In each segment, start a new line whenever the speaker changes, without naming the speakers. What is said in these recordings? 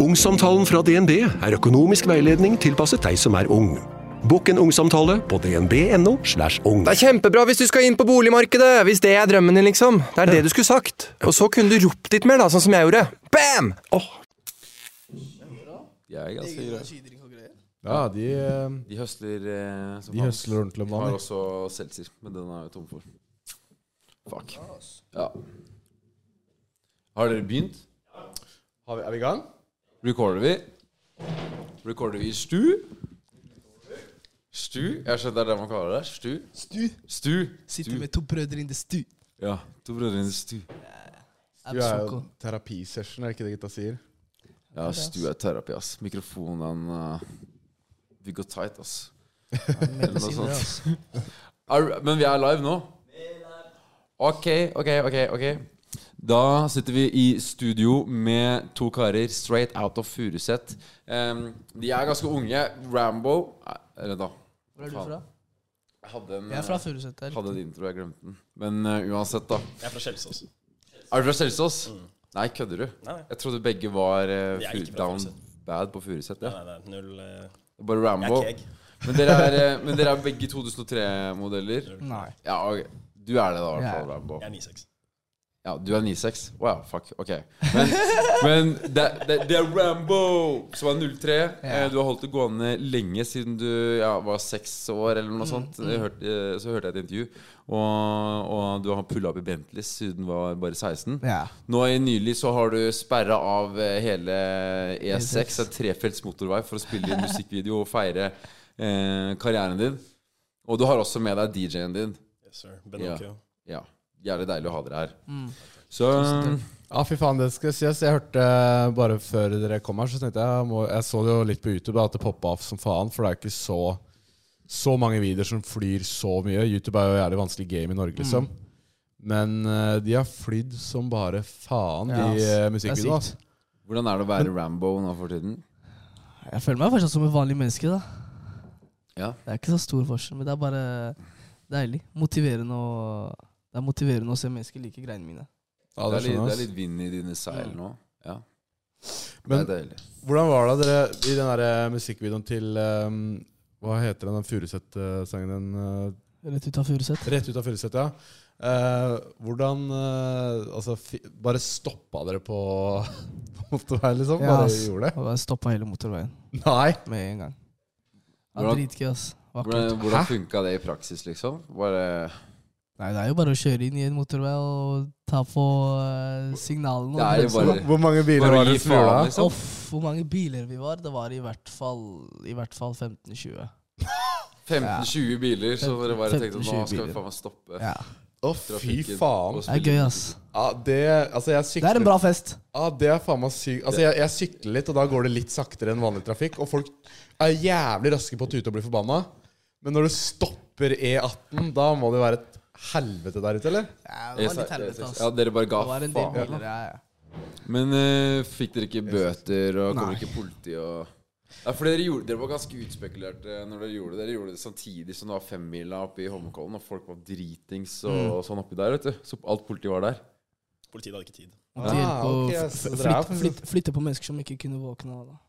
Ungsamtalen fra DNB er økonomisk veiledning tilpasset deg som er ung. Bokk en ungsamtale på dnb.no. slash ung.
Det er kjempebra hvis du skal inn på boligmarkedet! Hvis det er drømmen din, liksom. Det er det du skulle sagt. Og så kunne du ropt litt mer, da, sånn som jeg gjorde. Bam!
Jeg er ganske grei.
Ja, de, eh,
De høsler eh, som
de
faen.
høsler ordentlig om
De har
dagen.
også seltzer, men den er jo tom for. Fuck. Ja. Har dere begynt?
Har vi- Er vi i gang?
Recorder vi? Recorder vi i stu? Stu? Jeg har skjønt det er det man kaller det. Stu?
Stu.
Stu.
Sitter med to brødre in the stu.
Ja. To brødre i stu.
Du er jo terapisession, er det ikke det gutta sier?
Ja, stu er terapi, ass. Mikrofonen uh, Vi går tight, ass. Eller noe sånt. Er- Men vi er live nå? Ok, ok, ok. ok Da sitter vi i studio med to karer straight out of Furuset. Em, de er ganske unge. Rambo eh, Eller da.
Hvor er du fra?
Jeg hadde en,
Jeg er fra
eh,
Furuset. der.
hadde en intro, jeg glemte den. Men eh, uansett, da.
Jeg er fra Kjelsås.
Er du fra Kjelsås? Nei, kødder du?
Mm. Nei, nei.
Jeg trodde begge var eh,
Jeg er
Fu-
ikke fra
down
Furuset.
bad på Furuset. Ja.
Nei, nei, null eh,
Bare
Jeg
Rambo.
er keeg.
Men dere er, eh, men dere er begge 2003-modeller?
Nei.
Ja, ok. Du er det, da. i hvert fall,
Ja.
Rambo.
Jeg er 9-6.
Ja, du er 96? Wow, fuck. Ok. Men, men det, det, det er Rambo som er 03.
Ja.
Eh, Du har holdt det gående lenge siden du ja, var seks år, eller noe
Mm,
sånt. Jeg hørte- eh, så hørte jeg et intervju. Og, og du har pulla opp i Bentleys siden du var bare 16.
Ja.
Nå i nylig så har du sperra av eh, hele
E
E6, en trefelts motorvei, for å spille inn musikkvideo og feire eh, karrieren din. Og du har også med deg DJ-en din.
Yes, sir. Benocchio.
Ja, Jævlig deilig å ha dere her.
Mm.
Så
Ja, fy faen, det skal sies. Jeg hørte eh, bare før dere kom her, så tenkte jeg må, Jeg så det jo litt på YouTube, da, at det poppa av som faen. For det er ikke så Så mange videoer som flyr så mye. YouTube er jo jævlig vanskelig game i Norge, liksom.
Mm.
Men eh, de har flydd som bare faen,
Ja,
de eh,
ass. Det er
musikkvideoene. ass.
sykt.
hvordan er det å være Rambo nå for tiden?
Jeg føler meg fortsatt som et vanlig menneske, da.
Ja.
Det er ikke så stor forskjell, men det er bare deilig. Motiverende å Det er motiverende å se mennesker like greiene mine.
det,
Ja,
er
det
litt,
skjønner
det
jeg,
er
ass.
litt vind i dine seil nå. Ja, det
Men
er deilig.
Hvordan var det dere i den der eh, musikkvideoen til ehm, Hva heter den, den Furuset-sangen? Den, eh,
Rett ut av Furuset.
rett ut av Furuset, ja. Eh, hvordan eh, Altså, fi, bare stoppa dere på motorveien, liksom?
Ja,
Bare
ass.
gjorde det?
Og jeg stoppa hele motorveien
Nei!
med en gang. Det
Hvordan-
var dritgøy, ass. Vakkert.
Hvordan, hvordan funka det i praksis, liksom? Bare,
Nei, det er jo bare å kjøre inn i en motorvei og ta på eh, signalene.
det
og
er jo
bremsene.
bare,
Hvor mange biler
bare
var
å
det
gi
som gjorde
faen,
det?
liksom.
Uff, hvor mange biler vi var? Det var i hvert fall, i hvert fall 15-20.
15-20 biler, så dere bare tenkte
15-20
nå skal vi
biler.
faen meg stoppe.
Ja.
Å,
trafikken
fy
og
faen.
Det er
spille
gøy, ass.
Ja, det Altså, jeg
Det er
sykler
en bra fest.
Ja, det er faen meg sykt. Altså, jeg, jeg sykler litt, og da går det litt saktere enn vanlig trafikk. Og folk er jævlig raske på å tute og bli forbanna. Men når du stopper E18, da må det jo være et helvete der ute, eller?
Ja,
Jeg sa- jeg sa- Ja, dere bare ga
Det var en del
faen.
biler, ja, ja.
Men eh, fikk dere ikke bøter, og kom
Nei.
ikke politi og Nei, for dere, gjorde, dere var ganske utspekulerte når dere gjorde det. Dere gjorde det samtidig som det var femmila oppe i Holmenkollen, og folk var dritings og, og sånn oppi der, vet du. Så alt politiet var der.
Politiet hadde ikke tid.
Og det hjelper å
ok,
f-
så dere er
flytte,
faktisk-
flytte, flytte på mennesker som ikke kunne våkne av. da.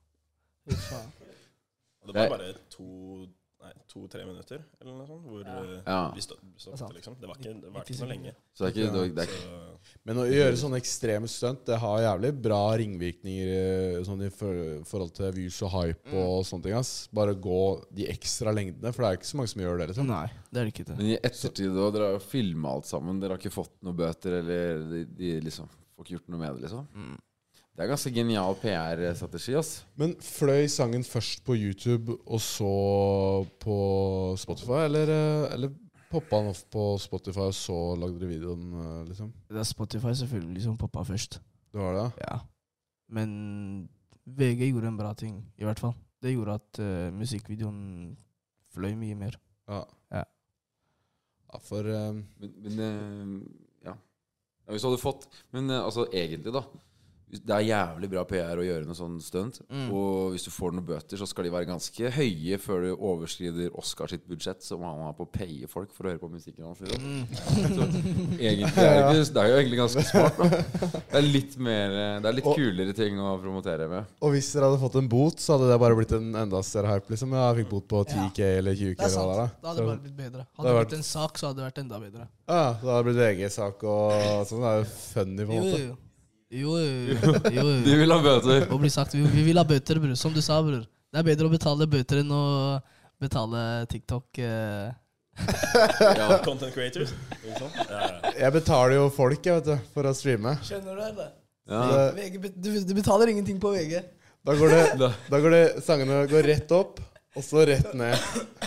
Fy faen.
Og det
Jeg-
var bare to Nei, to-tre minutter eller noe sånt, hvor eh,
Ja.
vi stå- stoppet,
sant.
liksom. Det var ikke, det var
Litt i
ikke så
sekunder.
lenge.
Så det er ikke, det er, det er,
Så
Men å gjøre sånne ekstreme stunt, det har jævlig bra ringvirkninger eh, sånn i for- forhold til views og hype
Mm.
og sånne ting. ass. Bare gå de ekstra lengdene, for det er ikke så mange som gjør det. liksom.
Nei, det Sånn er det ikke. det.
men i ettertid da, dere har jo filma alt sammen. Dere har ikke fått noen bøter, eller de, de liksom får ikke gjort noe med det, liksom.
Mm.
Det er ganske genial PR-strategi, ass.
Men fløy sangen først på YouTube og så på Spotify, eller, eh, eller poppa den opp på Spotify, og så lagde dere videoen, eh, liksom?
Det er Spotify selvfølgelig som poppa først.
Det var det, ja?
Ja. Men VG gjorde en bra ting, i hvert fall. Det gjorde at eh, musikkvideoen fløy mye mer.
Ja.
Ja.
Ja, for eh,
Men, men eh, ja. ja. Hvis du hadde fått Men eh, altså, egentlig, da. Det er jævlig bra PR å gjøre noe sånn stunt.
Mm.
Og hvis du får noen bøter, så skal de være ganske høye før du overskrider Oscar sitt budsjett, som han har på å paye folk for å høre på musikken hans. Liksom.
Mm.
Så egentlig er det, ikke, det er jo egentlig ganske smart. Da. Det er litt, mer, eh, det er litt
Og-
kulere ting å promotere med.
Og hvis dere hadde fått en bot, så hadde det bare blitt en enda større hype. liksom. Ja, jeg fikk bot på 10K eller 20K.
Det er
eller hva det
sant. Da
er,
hadde det
da.
bare blitt bedre. Hadde
hadde
det
vært-
blitt en sak, så hadde det vært enda bedre.
Så, ja, da hadde det blitt VG-sak og sånn. Det er jo funny, på en
Jo,
måte.
jo, jo. jo, jo, jo,
De
jo.
vil ha bøter.
Og bli sagt, vi, vi vil ha bøter, bror. Som du sa, bror. Det er bedre å betale bøter enn å betale TikTok. Eh.
Content creators. Ikke sant? Ja, ja.
Jeg betaler jo folk jeg, vet du, for å streame.
Skjønner du det, eller?
Ja.
Det-
du, betaler ingenting på VG.
Da går det,
Da-
da går det Sangene går rett opp, og så rett ned.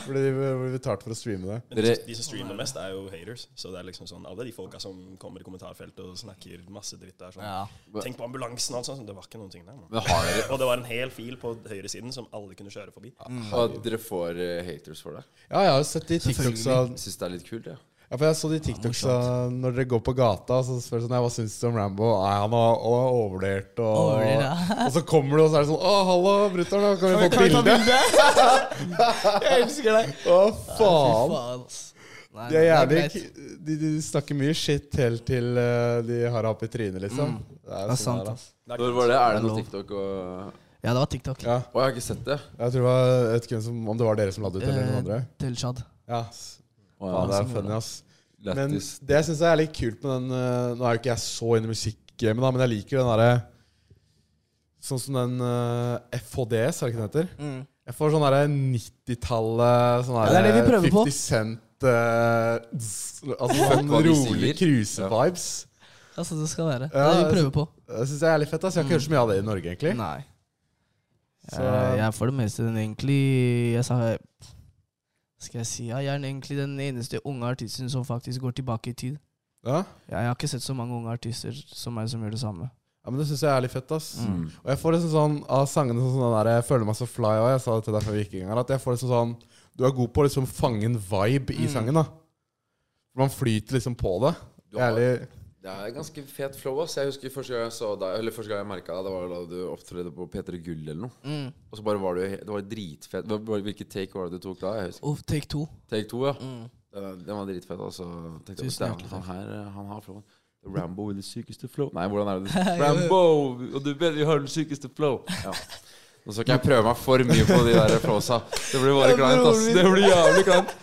Fordi de blir betalt for å streame det.
Men de,
Dere-
de som streamer mest, er jo haters. Så det er liksom sånn Alle de folka som kommer i kommentarfeltet og snakker masse dritt der. Sånn.
Ja.
Tenk på ambulansen og alt sånt. Det var ikke noen ting der. Man.
Men har dere,
Og det var en hel fil på høyresiden som alle kunne kjøre forbi.
at dere får eh, haters for det?
Ja, jeg har jo sett de TikToksa
Selvfølgelig.
Jeg syns det er litt kult, jeg. Ja.
Ja, for jeg så de TikToksa når dere går på gata, så spør du sånn, «Nei, hva syns du om Rambo? Nei, han har han har overvurdert, og,
Overvurdert,
og så kommer du, og så er det sånn Å, hallo, brutter'n, kan vi få et bilde?
Jeg elsker deg.
Å,
Fy
faen.
faen, ass. Nei,
De er
nei,
jævlig
det greit.
k- de, de snakker mye shit helt til eh, de har det opp i trynet, liksom. Det
Det er sant,
der,
ass.
Når var det? Er det noe
Det er lov.
TikTok og
Ja, det var TikTok.
da. Ja,
Å, jeg har ikke sett det.
jeg tror det var, jeg vet ikke hvem som, om det var dere som la det ut, eller noen andre.
Eh, Delshad.
Ja,
Å, ja.
faen, det
som
er
gjorde
funny,
det.
ass. Men
Lættis.
det jeg syns er litt kult med den eh, Nå er jo ikke jeg så inne i musikkgamet, da, men jeg liker den derre Sånn som den eh, FHDS, er det ikke den heter?
Mm.
Jeg får sånn derre 90-tallet sånn
Ja, det er det vi
derre
prøver på.
50 Cent eh, zzz, Altså
Fuck
sånn
hva de
rolig
sier.
cruise-vibes.
Altså, det skal være.
Ja,
det er det vi prøver på.
Det syns jeg er litt fett. ass Jeg har ikke hørt så mye av det i Norge, egentlig.
Nei.
Så-
Eh, Jeg er for det meste den egentlig jeg sa, Skal jeg si ja, Jeg er den egentlig den eneste unge artisten som faktisk går tilbake i tid.
Ja.
Jeg, jeg har ikke sett så mange unge artister som meg som gjør det samme.
ja, men Det syns jeg er litt fett. ass
Mm.
Og jeg får liksom sånn av sangene sånn sånn der, Jeg føler meg så fly òg, jeg sa det til deg før vi gikk i gang her, at jeg får liksom sånn Du er god på å liksom fange en vibe i
Mm.
sangen, da. Man flyter liksom på det.
Du har-
Ærlig.
Det er ganske fet flow, ass. Jeg husker første gang jeg så deg, eller første gang jeg merka deg, det var da du opptredde på P3 Gull eller noe.
Mm.
Og så bare var du he- Det var dritfett. Hva- hva- Hvilket take var det du tok da? Jeg husker.
Og Take Two.
Take to, ja.
Mm.
Den den var dritfett. Og så tenkte jeg
Tusen
at
hjertelig
han
takk.
her, eh, han har flowen. Rambo i det sykeste flow Nei, hvordan er det? du- Rambo, og du vet vi har den sykeste flow. Ja. Nå skal ikke jeg prøve meg for mye på de der flowsa. Det blir bare kleint, ass. Det blir jævlig kleint.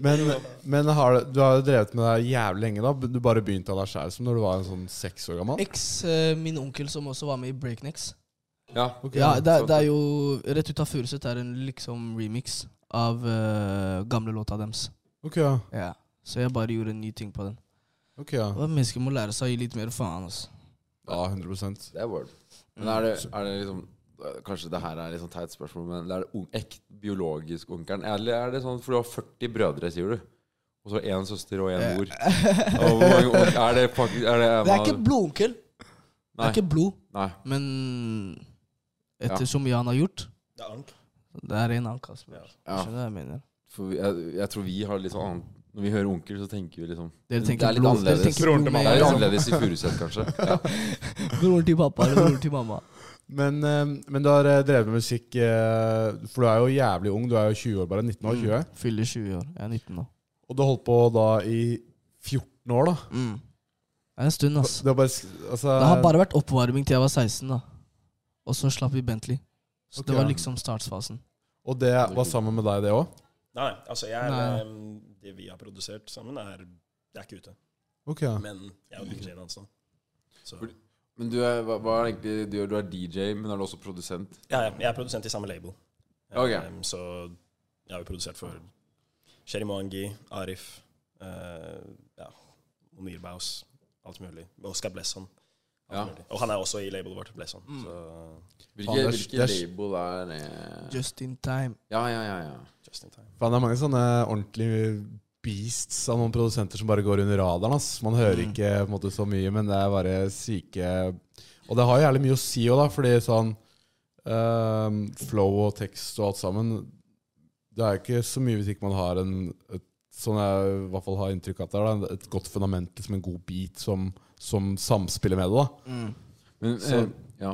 Men, men har, du- du har jo drevet med det her jævlig lenge, da. Du bare begynte av deg sjæl som når du var en sånn seks år gammel.
Eks, eh, min onkel som også var med i Breaknecks.
Ja.
Ja, det, er-
sant.
det er jo Rett ut av Furuset er en liksom remix av eh, gamle låta deres.
Ok, ja.
Ja. Så jeg bare gjorde en ny ting på den.
Ok, ja.
Og Mennesker må lære seg å gi litt mer faen. Altså.
ja 100
Det er word. Men er det, er det liksom eh, Kanskje det her er litt sånn teit spørsmål, men er det ung- ekte biologisk onkelen? Eller er det sånn for du har 40 brødre, sier du? Og så én søster og én mor. Og hvor mange onk- Er det faktisk er det,
Eh. Det er ikke blodonkel. Det
Nei.
er ikke blod.
Nei.
Men ettersom Jan har gjort
Det er ank.
Det er en annen kasse.
Ja.
Ja,
Skjønner du hva jeg mener?
for vi- jeg, jeg tror vi har litt sånn annet Når vi hører onkel, så tenker vi liksom
Dere
Det er
tenker
litt
blod. Dere
annerledes.
tenker
Broren
blod
til
med
Det
mamma.
er
en
litt
gang.
annerledes i Furuset, kanskje. Ja.
Broren til pappa eller broren til mamma.
Men, eh, men du har eh, drevet med musikk, eh, for du er jo jævlig ung. Du er jo 20 år, bare. 19 år, 20.
Mm, Fyller 20 år. Jeg er 19 nå.
Og du har holdt på da i 14 år, da.
Mm. Det er en stund, ass.
Det, er bare, sk- altså,
Det har bare vært oppvarming til jeg var 16, da. Og så slapp vi Bentley. Så
Ok,
det var
ja.
liksom startfasen.
Og det var sammen med deg, det òg?
Nei, altså jeg er,
Nei.
em, Det vi har produsert sammen, er Det er ikke ute.
Ok, ja.
Men jeg og DJ-en hans nå. Så
Fordi- Men du er, hva, hva er det egentlig du gjør? Du er DJ, men er du også produsent?
ja, ja, jeg er produsent i samme label.
Ok.
Em, så jeg har jo produsert for Sherry Moangi, Arif, eh, ja, Onir Baus, alt mulig. Oscar Blesson. alt
Ja.
mulig. Og han er også i labelet vårt, Blesson.
Mm.
Så
Hvilke,
Faen, det er-
hvilke
det er-
label er eh,
Just in time.
Ja, ja, ja. ja.
just in time.
Faen, det er mange sånne ordentlige beasts av noen produsenter som bare går under radaren. Ass. Man hører
Mm.
ikke på en måte, så mye, men det er bare syke Og det har jo jævlig mye å si òg, da, fordi sånn ehm, flow og tekst og alt sammen Det er jo ikke så mye hvis ikke man har en et, Sånn jeg i hvert fall har
Mm.
inntrykk av at det er da, et godt fundament, liksom en god beat som, som samspiller med det. da
Men,
Så-
eh, ja.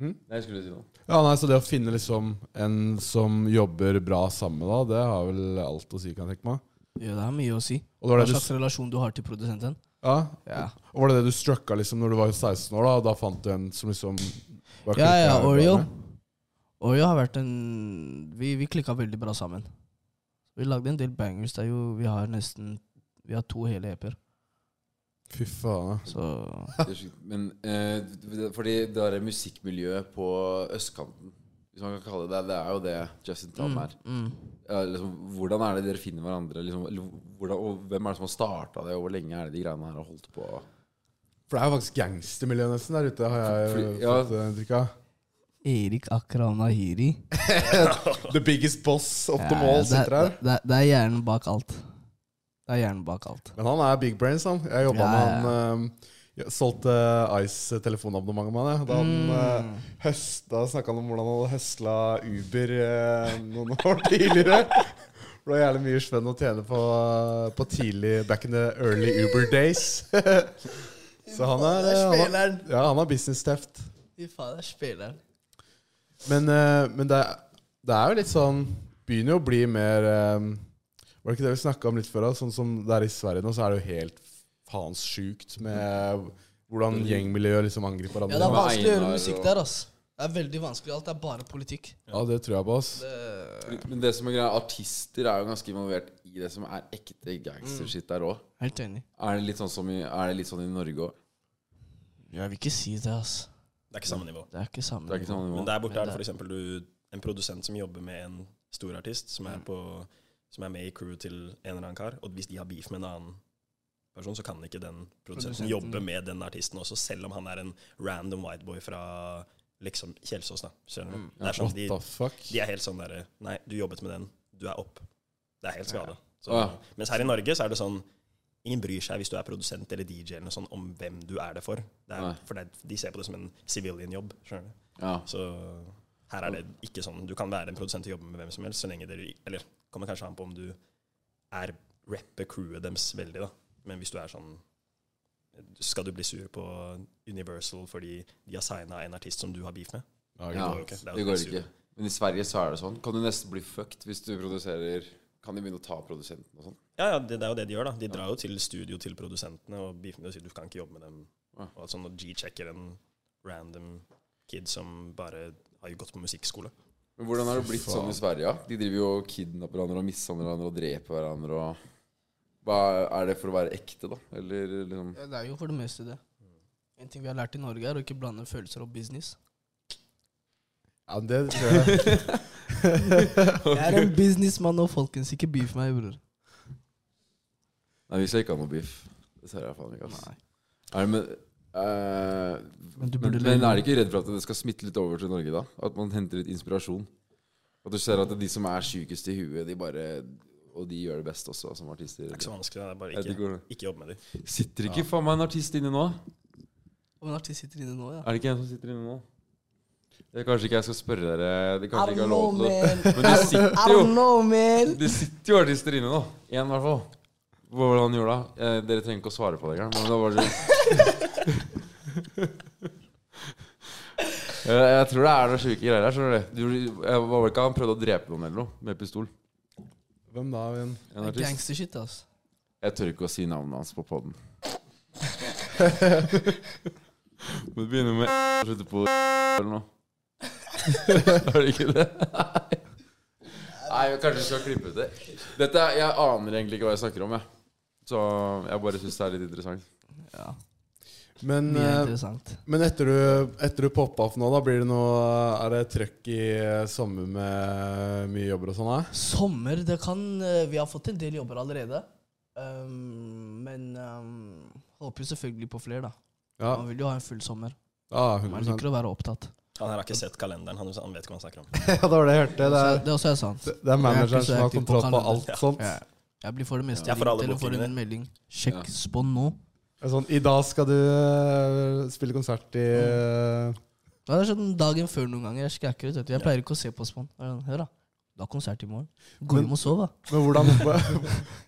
Mm?
Nei, jeg skulle si noe.
Ja, nei, Så det å finne liksom en som jobber bra sammen, da, det har vel alt å si, kan jeg tenke meg.
Ja, det har mye å si.
Og det
Hva
var det du,
slags relasjon du har til produsenten.
ja?
Ja,
og var det, det du strucka liksom når du var 16 år, da, og da fant du en som liksom var
ja, ja
klikket her
Oreo.
bra med?
Oreo har vært en Vi, vi klikka veldig bra sammen. Vi lagde en del bangers. Det er jo, vi har nesten Vi har to hele EP-er.
Fy faen. ja.
Så
Det er sjukt. Men eh, det- fordi det derre musikkmiljøet på østkanten, hvis man kan kalle det det, det er jo det Justin Tam er.
Mm.
Ja, liksom, hvordan er det dere finner hverandre? Liksom, eller hvordan, og hvem er det som har starta det, og hvor lenge er det de greiene her har holdt på?
For det er jo faktisk gangstermiljø nesten der ute, har jeg
Fordi-
ja.
ja.
fått eh, inntrykk av.
Erik Akram Nahiri.
The biggest boss of
Ja,
them all
Eh, det,
sitter her.
det, det, det er hjernen bak alt. Det er hjernen bak alt.
Men han er big brains, han. Jeg jobba
Ja, ja,
med han. eh, jeg solgte Ice-telefonabonnementet med han. jeg. Da han
Mm.
eh, høsta snakka han om hvordan han hadde høsla Uber eh, noen år tidligere. For Det var jævlig mye spenn å tjene på, eh, på tidlig back in the early Uber days. Så han er, eh, han har,
Spilleren!
ja, han har business-teft.
Fy faen, det er spilleren.
Men, eh, men det, er- det er jo litt sånn Begynner jo å bli mer eh, Var det ikke det vi snakka om litt før? da? Sånn som det er i Sverige nå, så er det jo helt faens sjukt med hvordan gjengmiljøet liksom angriper
Ja, det er
hverandre.
vanskelig å gjøre
Einar
musikk
og-
der, ass. Det er veldig vanskelig. Alt er bare politikk.
Ja, det tror jeg på, ass.
Det...
Men det som er greia, artister er jo ganske involvert i det som er ekte gangstershit der òg.
Helt enig.
Er det litt sånn, som i, er det litt sånn i Norge òg?
Jeg vil ikke si det, ass.
Det er ikke samme nivå.
Det er ikke samme.
Det er ikke sånn
Men der borte er det
Men
f.eks. en produsent som jobber med en stor artist, som er, på, som er med i crewet til en eller annen kar. Og hvis de har beef med en annen person, så kan ikke den produsenten
Produsenten.
jobbe med den artisten også, selv om han er en random white boy fra liksom Kjelsås. da, skjønner du? Det er sånn,
What
de,
the fuck?
de er helt sånn derre Nei, du jobbet med den, du er opp. Det er helt skade. Så,
Å,
Mens her i Norge så er det sånn Ingen bryr seg hvis du er produsent eller DJ eller noe sånt, om hvem du er det for. Det
Nei.
er, for det, er- de ser på det som en civilian jobb. skjønner du?
Ja.
Så her er det ikke sånn Du kan være en produsent og jobbe med hvem som helst, så lenge dere Eller kommer kanskje an på om du er rapper crewet deres veldig, da. Men hvis du er sånn Skal du bli sur på Universal fordi de har signa en artist som du har beef med?
ja,
går jo ikke. Det er jo
det går
helt
ikke. Men i Sverige så er det sånn. Kan du nesten bli fucked hvis du produserer Kan de begynne å ta produsenten og sånn?
Ja, ja, det, det er jo det de gjør, da. De drar jo til studio til produsentene og beefer med dem og sier du kan ikke jobbe med dem.
Ja.
Og alt sånn, og G-checker en random kid som bare har gått på musikkskole.
Men hvordan har det
Fy
blitt
faen.
sånn i Sverige? Ja? De driver jo og kidnapper hverandre og mishandler hverandre og dreper hverandre og hva Er det for å være ekte, da? Eller liksom
det er- Ja, det er jo for det meste det. En ting vi har lært i Norge, er å ikke blande følelser og business.
Ja, men det tror jeg.
Jeg er en businessmann nå, folkens. Ikke beef meg, bror.
Nei, vi skal ikke ha noe beef. Det ser jeg faen ikke, ass.
Nei.
Er det, men, eh,
Men du
men,
burde le-
men er det ikke redd for at det skal smitte litt over til Norge, da? At man henter litt inspirasjon? At du ser at de som er sjukest i huet, de bare Og de gjør det best også, som artister.
Det er ikke så vanskelig. Det er bare
Jeg vet
ikke,
ikke hvordan-
ikke jobb med dem.
Sitter ikke faen meg en artist inni nå?
Og en artist sitter inne nå, ja.
Er det ikke en som sitter inne nå? Det er kanskje ikke jeg skal spørre dere Det kanskje ikke har lov til å
man.
Men det
I
sitter jo
don't know, man.
Det sitter jo artister inne nå. Én, i hvert fall. Hvordan gjorde det? Eh, dere trenger ikke å svare på det engang. Men det var bare sånn. Eh, Jeg tror det er noen sjuke greier her. skjønner du. Du- Jeg var vel ikke han prøvde å drepe noen eller noe med pistol?
Hvem da? Vin?
En artist.
Gangstershit, ass.
Jeg tør ikke å si navnet hans på poden. Må du begynne med og slutte på eller noe? Er det ikke det? Nei, men kanskje vi skal klippe ut det. Dette, er- Jeg aner egentlig ikke hva jeg snakker om, jeg. Så jeg bare syns det er litt interessant.
Ja,
Men,
mye
eh,
interessant.
men etter du, etter du poppa opp nå, da blir det noe Er det trøkk i eh, sommer med mye jobber og sånn? da?
Sommer, det kan eh, Vi har fått en del jobber allerede. Um, men um, håper jo selvfølgelig på flere, da.
Ja,
Man vil jo ha en full sommer.
ja
Man
100
liker å være opptatt.
Han her har ikke sett kalenderen. Han, han vet ikke hva han snakker om.
Ja, det var det jeg hørte.
Det
Det
er,
er,
det også er sant.
det er
Jeg er
manageren
ikke så
som har
aktiv på
kontroll på
kalender.
alt sånt.
Ja. Jeg blir for det meste
Ja, for alle
ringt eller får en
bookingene.
melding. Sjekk
Ja.
spon nå.
Det er Sånn, I dag skal du øh, spille konsert i øh,
Ja, Det er sånn dagen før noen ganger. Jeg skrek ut, vet du. Jeg pleier ikke å se på spon. Det er sånn, Hør, da. Du har konsert i morgen. Gå
Men-
hjem og sov, da.
Men hvordan, men,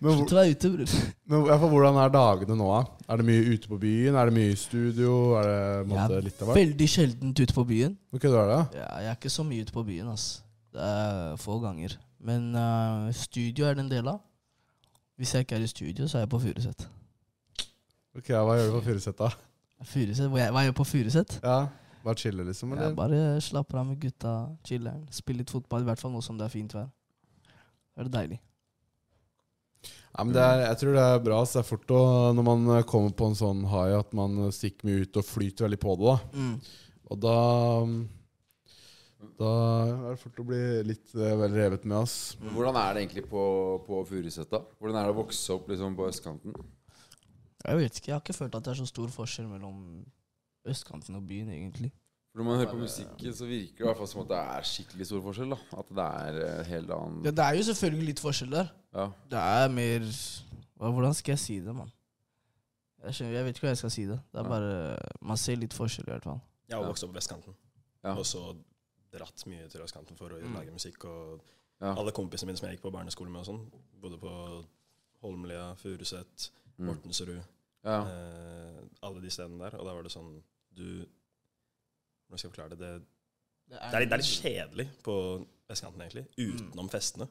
hvor-
Slutt å være ute, bror.
men hvor- ja, for hvordan er dagene nå, da? Er det mye ute på byen? Er det mye i studio? Er det på en måte, litt av hvert?
Veldig sjeldent ute på byen.
Hvor kødder du er det?
Ja, jeg er ikke så mye ute på byen, ass. Det er få ganger. Men eh, studio er det en del av. Hvis jeg ikke er i studio, så er jeg på Furuset.
Ok, ja, Hva gjør du på Furuset, da?
Furuset, Hva jeg- hva jeg gjør på Furuset?
Ja, Bare chille, liksom?
Jeg
Eller?
bare slapper av med gutta, chiller'n, spiller litt fotball. I hvert fall nå som det er fint vær. Da er det deilig.
Ja, men det er, jeg tror det er bra. Så det er fort å, når man eh, kommer på en sånn high, at man stikker mye ut og flyter veldig på det. da. Og da mm, Da er det fort å bli litt eh, vel revet med, ass.
Men Hvordan er det egentlig på, på Furuset, da? Hvordan er det å vokse opp liksom på østkanten?
Jeg vet ikke, jeg har ikke følt at det er så stor forskjell mellom østkanten og byen, egentlig.
For Når man hører på musikken, så virker det i hvert fall som at det er skikkelig stor forskjell. da At det er eh, helt annen
Ja, det er jo selvfølgelig litt forskjell der.
Ja.
Det er mer hva- Hvordan skal jeg si det, mann? Jeg, skjønner, jeg vet ikke hva jeg skal si det. Det er
Ja.
bare Man ser litt forskjell, i hvert fall.
Jeg har
Ja.
vokst opp på vestkanten,
Ja.
og så dratt mye til østkanten for å
Mm.
lage musikk. Og
Ja.
alle kompisene mine som jeg gikk på barneskole med, og sånn, bodde på Holmlia, Furuset,
Mm.
Mortensrud,
ja.
eh, alle de stedene der. Og da var det sånn Du Hvordan skal jeg forklare det? Det, det, er, litt- det er litt kjedelig på vestkanten, egentlig. Utenom festene.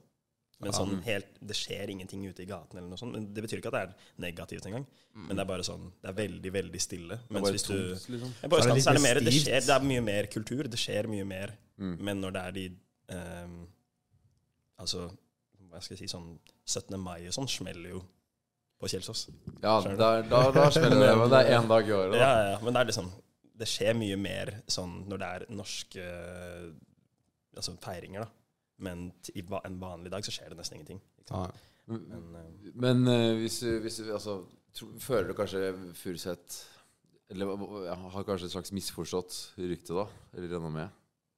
Men
Mm. Ja.
sånn helt, Det skjer ingenting ute i gaten, eller noe sånt. Men det betyr ikke at det er negativt engang. Men det
Mm,
er bare sånn Det er veldig, veldig stille.
Mm. Det er
Mens
bare
hvis du
tomt, liksom.
Så er
ja, På
det
østkanten så er
litt
det mer det,
stivt.
skjer, det er mye mer kultur, det skjer mye mer.
Mm.
Men når det er de ehm, Altså, hva skal jeg si, sånn 17. mai og sånn smeller jo på Kjelsås.
Ja, der, da, da smeller det. Men det er én dag i året, da.
Ja, ja, ja, men det er liksom Det skjer mye mer sånn når det er norske Altså feiringer, da. Men t- i va- en vanlig dag så skjer det nesten ingenting. Ikke sant?
Ja.
Men,
Men, ehm,
men eh, hvis, du- hvis du- altså, tro, Føler du kanskje Furuset Eller ja, har kanskje et slags misforstått rykte, da? Eller renommé?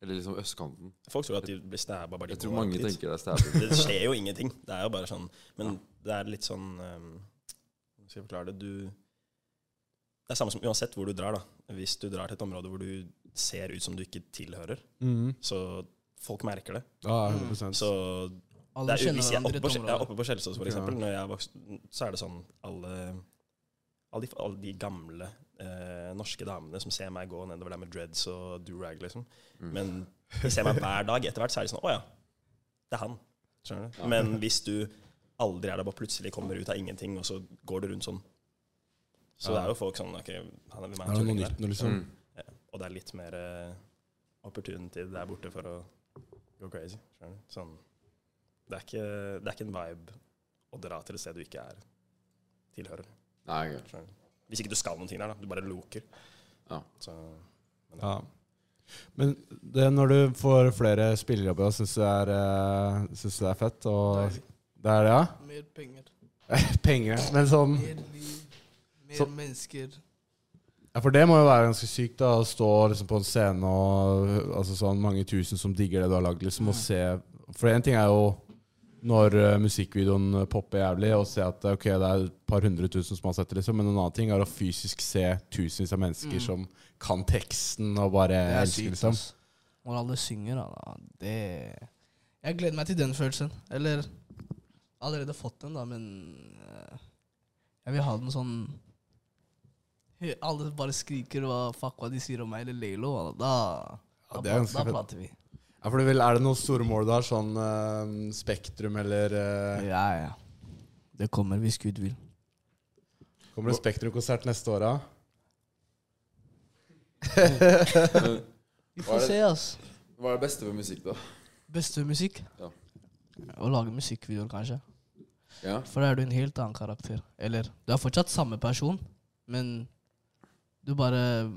Eller liksom østkanten?
folk tror at de blir snæba bare de
Jeg tror
går
mange
dit.
tenker det er stæbel.
Det skjer jo ingenting. Det er jo bare sånn Men det er litt sånn um, Skal jeg forklare det? Du Det er samme som uansett hvor du drar, da. Hvis du drar til et område hvor du ser ut som du ikke tilhører,
Mm.
så folk merker det.
Ja, 100
Så
Alle
det er,
kjenner
Hvis jeg er
hverandre i
oppe
et
på, Skje- jeg er
område.
oppe på Skjelsås, for
Ja.
eksempel, når jeg er vokst, så er det sånn alle alle de, alle de gamle eh, norske damene som ser meg gå nedover der med dreads og do-rag, liksom.
Mm.
Men de ser meg hver dag. Etter hvert så er de sånn Å ja, det er han. Skjønner du? Men hvis du aldri er der, bare plutselig kommer ut av ingenting, og så går du rundt sånn Så det er jo folk sånn OK, han er hvem
Det er noe
han
nytt
der?
nå, liksom.
Mm.
Og det er litt mer eh, opportunity der borte for å go crazy. skjønner du? Sånn, det, er ikke, det er ikke en vibe å dra til et sted du ikke er tilhører.
Nei, gøy.
skjønner du? Hvis ikke du skal noen ting der, da. Du bare loker.
Ja.
Så,
Ja. Men det, når du får flere spillejobber, syns du det er, eh, synes du det er fett? Og
Deilig.
det er det, ja?
Mer penger,
Penger. Men sånn
mer liv, mer
Så-
mennesker.
Ja, For det må jo være ganske sykt da, å stå liksom, på en scene og altså, sånn, mange tusen som digger det du har lagd, liksom, og
Mm.
se For én ting er jo når eh, musikkvideoen popper jævlig, og se at ok, det er et par hundre tusen som har sett det, liksom, men en annen ting er å fysisk se tusenvis av mennesker som kan teksten og bare
Mm. Det er
elsker,
sykt,
liksom.
ass. Når alle synger, da, da. Det Jeg gleder meg til den følelsen. Eller allerede fått den, da, men eh, Jeg vil ha den sånn Hø- Alle bare skriker hva fuck hva de sier om meg eller Laylo. Da,
Ja,
da,
det er
da,
ganske
da
fett.
prater vi.
Ja, for det vil, er det noen store mål du har, sånn eh, Spektrum eller eh,
Ja, ja. Det kommer hvis Gud vil.
Kommer det Spektrum-konsert neste år, da?
Vi
Hva er
får
det-
se, ass.
Hva er det beste ved musikk, da?
Beste musikk?
Ja.
Å lage musikkvideoer, kanskje.
Ja.
For da er du en helt annen karakter. Eller du er fortsatt samme person, men du bare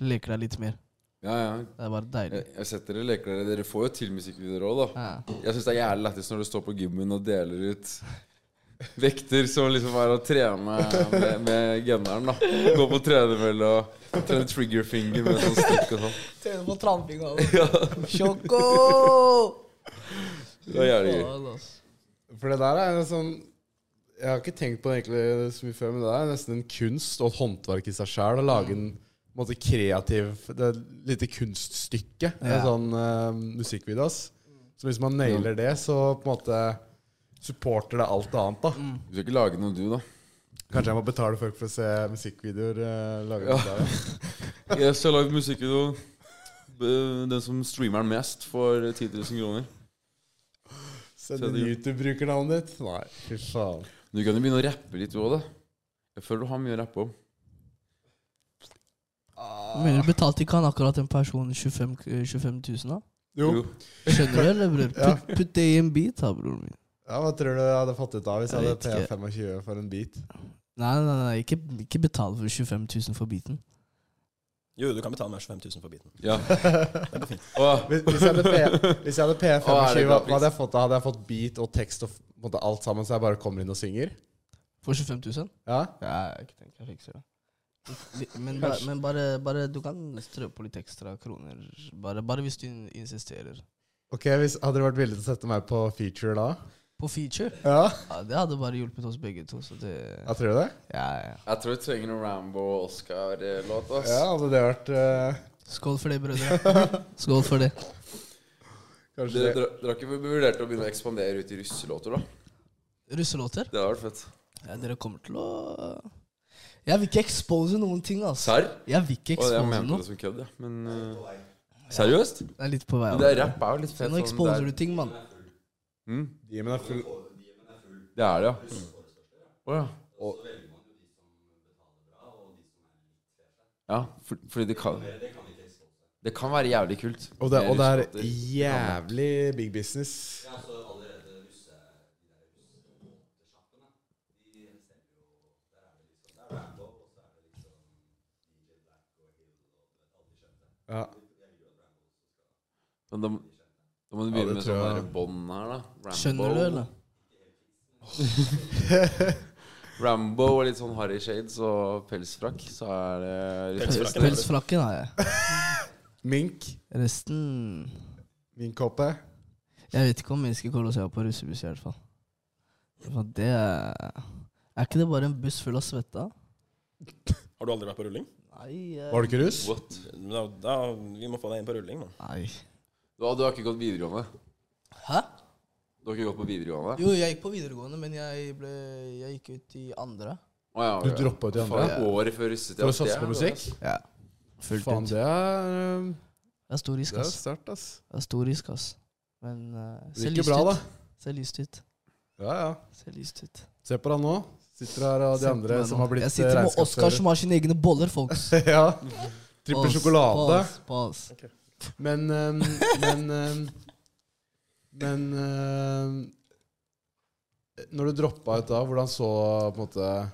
leker deg litt mer.
Ja, ja.
Det er bare deilig.
Jeg, jeg setter dere leker dere. Dere får jo til musikkvideoer òg, da.
Ja.
Jeg syns det er jævlig lættis når du står på gymmen og deler ut vekter som liksom er å trene med, med gunneren, da. Gå på tredemølle og trene trigger finger med sånn stikk og sånn.
Trener på trampinga.
Ja,
Sjokko!
det er jævlig gøy.
Faen, ass.
For det der er en sånn Jeg har ikke tenkt på det egentlig så mye før, men det er nesten en kunst og et håndverk i seg sjæl å lage en, på en måte kreativ Det er et lite kunststykke. Det er
Ja.
sånn eh, musikkvideo, ass. Så hvis man nailer det, så på en måte supporter det alt annet, da.
Mm.
Du skal ikke lage noe, du, da.
Kanskje jeg må betale folk for å se musikkvideoer eh, laget
Ja.
av deg.
Jeg skal lage musikkvideo. B- Den som streamer den mest, får 10 000 kroner.
Send
Så
inn
det-
YouTube-brukernavnet ditt. Nei, fy faen.
Du kan jo begynne å rappe litt, du òg, da. Jeg føler du har mye å rappe om.
Ah.
Men du betalte ikke han akkurat en person 25, k- 25 000, da?
Jo.
Jo.
Skjønner du, eller, bror?
Ja.
Putt, putt det i en bit, da, broren min.
Ja, Hva tror du jeg hadde fått ut av hvis jeg
Jeg
hadde
vet
P25 for en beat?
Nei, nei, nei, ikke, ikke betal for 25 000 for biten.
Jo, du kan betale meg 25 000 for biten.
Ja.
Det går fint.
Åh,
Hvis, hvis jeg hadde P- hvis jeg hadde P25,
Å, er det bra
hva hadde jeg fått da? Hadde jeg fått beat og tekst og f- på en måte alt sammen, så jeg bare kommer inn og synger?
For 25 000?
Ja?
Ja, jeg tenker jeg fikser det. Litt- Men, bare, men bare, bare du kan strø på litt ekstra kroner. Bare, bare hvis du in- insisterer.
Ok, hvis, Hadde du vært villig til å sette meg på feature da?
På feature?
Ja?
Ja, det hadde bare hjulpet oss begge to. Så det
Jeg tror det.
ja, ja.
Jeg tror jeg trenger noen Rambo-Oscar-låt. ass.
Ja, hadde det vært eh,
Skål for det, brødre. Skål for det.
Kanskje
Dere
det.
dere- dere har ikke vurdert å begynne å ekspandere ut i russelåter, da?
Russelåter?
Det hadde vært fett.
Ja, dere kommer til å Jeg vil ikke expose noen ting, altså.
Serr?
Jeg vil ikke
Og jeg
expose
mente
noe.
det som kødd, ja. Men eh, seriøst?
Det er litt på vei.
Men
av.
det er rapp er jo litt fett.
Nå
sånn,
exposer
det
du
er-
ting, mann.
Mm,
Demon er full.
det er det, ja. Å ja. Og- Ja, for, fordi det kan Det kan være jævlig kult.
Og det,
med
og det
russelåter.
er jævlig big business.
liksom-
Ja,
sånn Men da, må- da må du
Ja,
begynne
det
med
tror
sånn
jeg.
der bånd her, da. Rambo.
Skjønner du, eller?
Rambo og litt sånn Harry Shades og pelsfrakk, så er det
Pelsfrakk.
Pelsfrakken har jeg.
Mink.
Resten
Minkhoppe.
Jeg vet ikke om mennesker kommer til å se meg på russebuss, i hvert fall. For det er Er ikke det bare en buss full av svetta?
Har du aldri vært på rulling?
Nei, eh,
Var det ikke russ?
What?
Da, da, vi må få deg inn på rulling, mann.
nei.
Du, har- du har ikke gått videregående?
Hæ?
Du har ikke gått på videregående?
Jo, jeg gikk på videregående, men jeg, ble, jeg gikk ut i andre.
Å, ja,
Du
ok.
droppa ut i andre?
Faen, Året før russetida.
For å satse
det er
på
bra,
musikk?
ass.
Ja. Fullt
Faen,
ut.
det er, eh,
Det er stor risk,
det er
ass.
sterkt, ass.
Det er stor risk, ass. Men eh,
Det
ser
gikk jo
lyst
bra, da.
ut. Ser lyst ut.
Ja, ja.
Ser lyst ut.
Se på deg nå. Sitter her og de andre som har blitt
Jeg sitter med Oskar
regnskapsfører.
som har sine egne boller, folks.
ja. Trippel
Pause,
sjokolade.
pause, pause.
Men ehm, Men ehm, Men ehm, Når du droppa ut da, hvordan så på en måte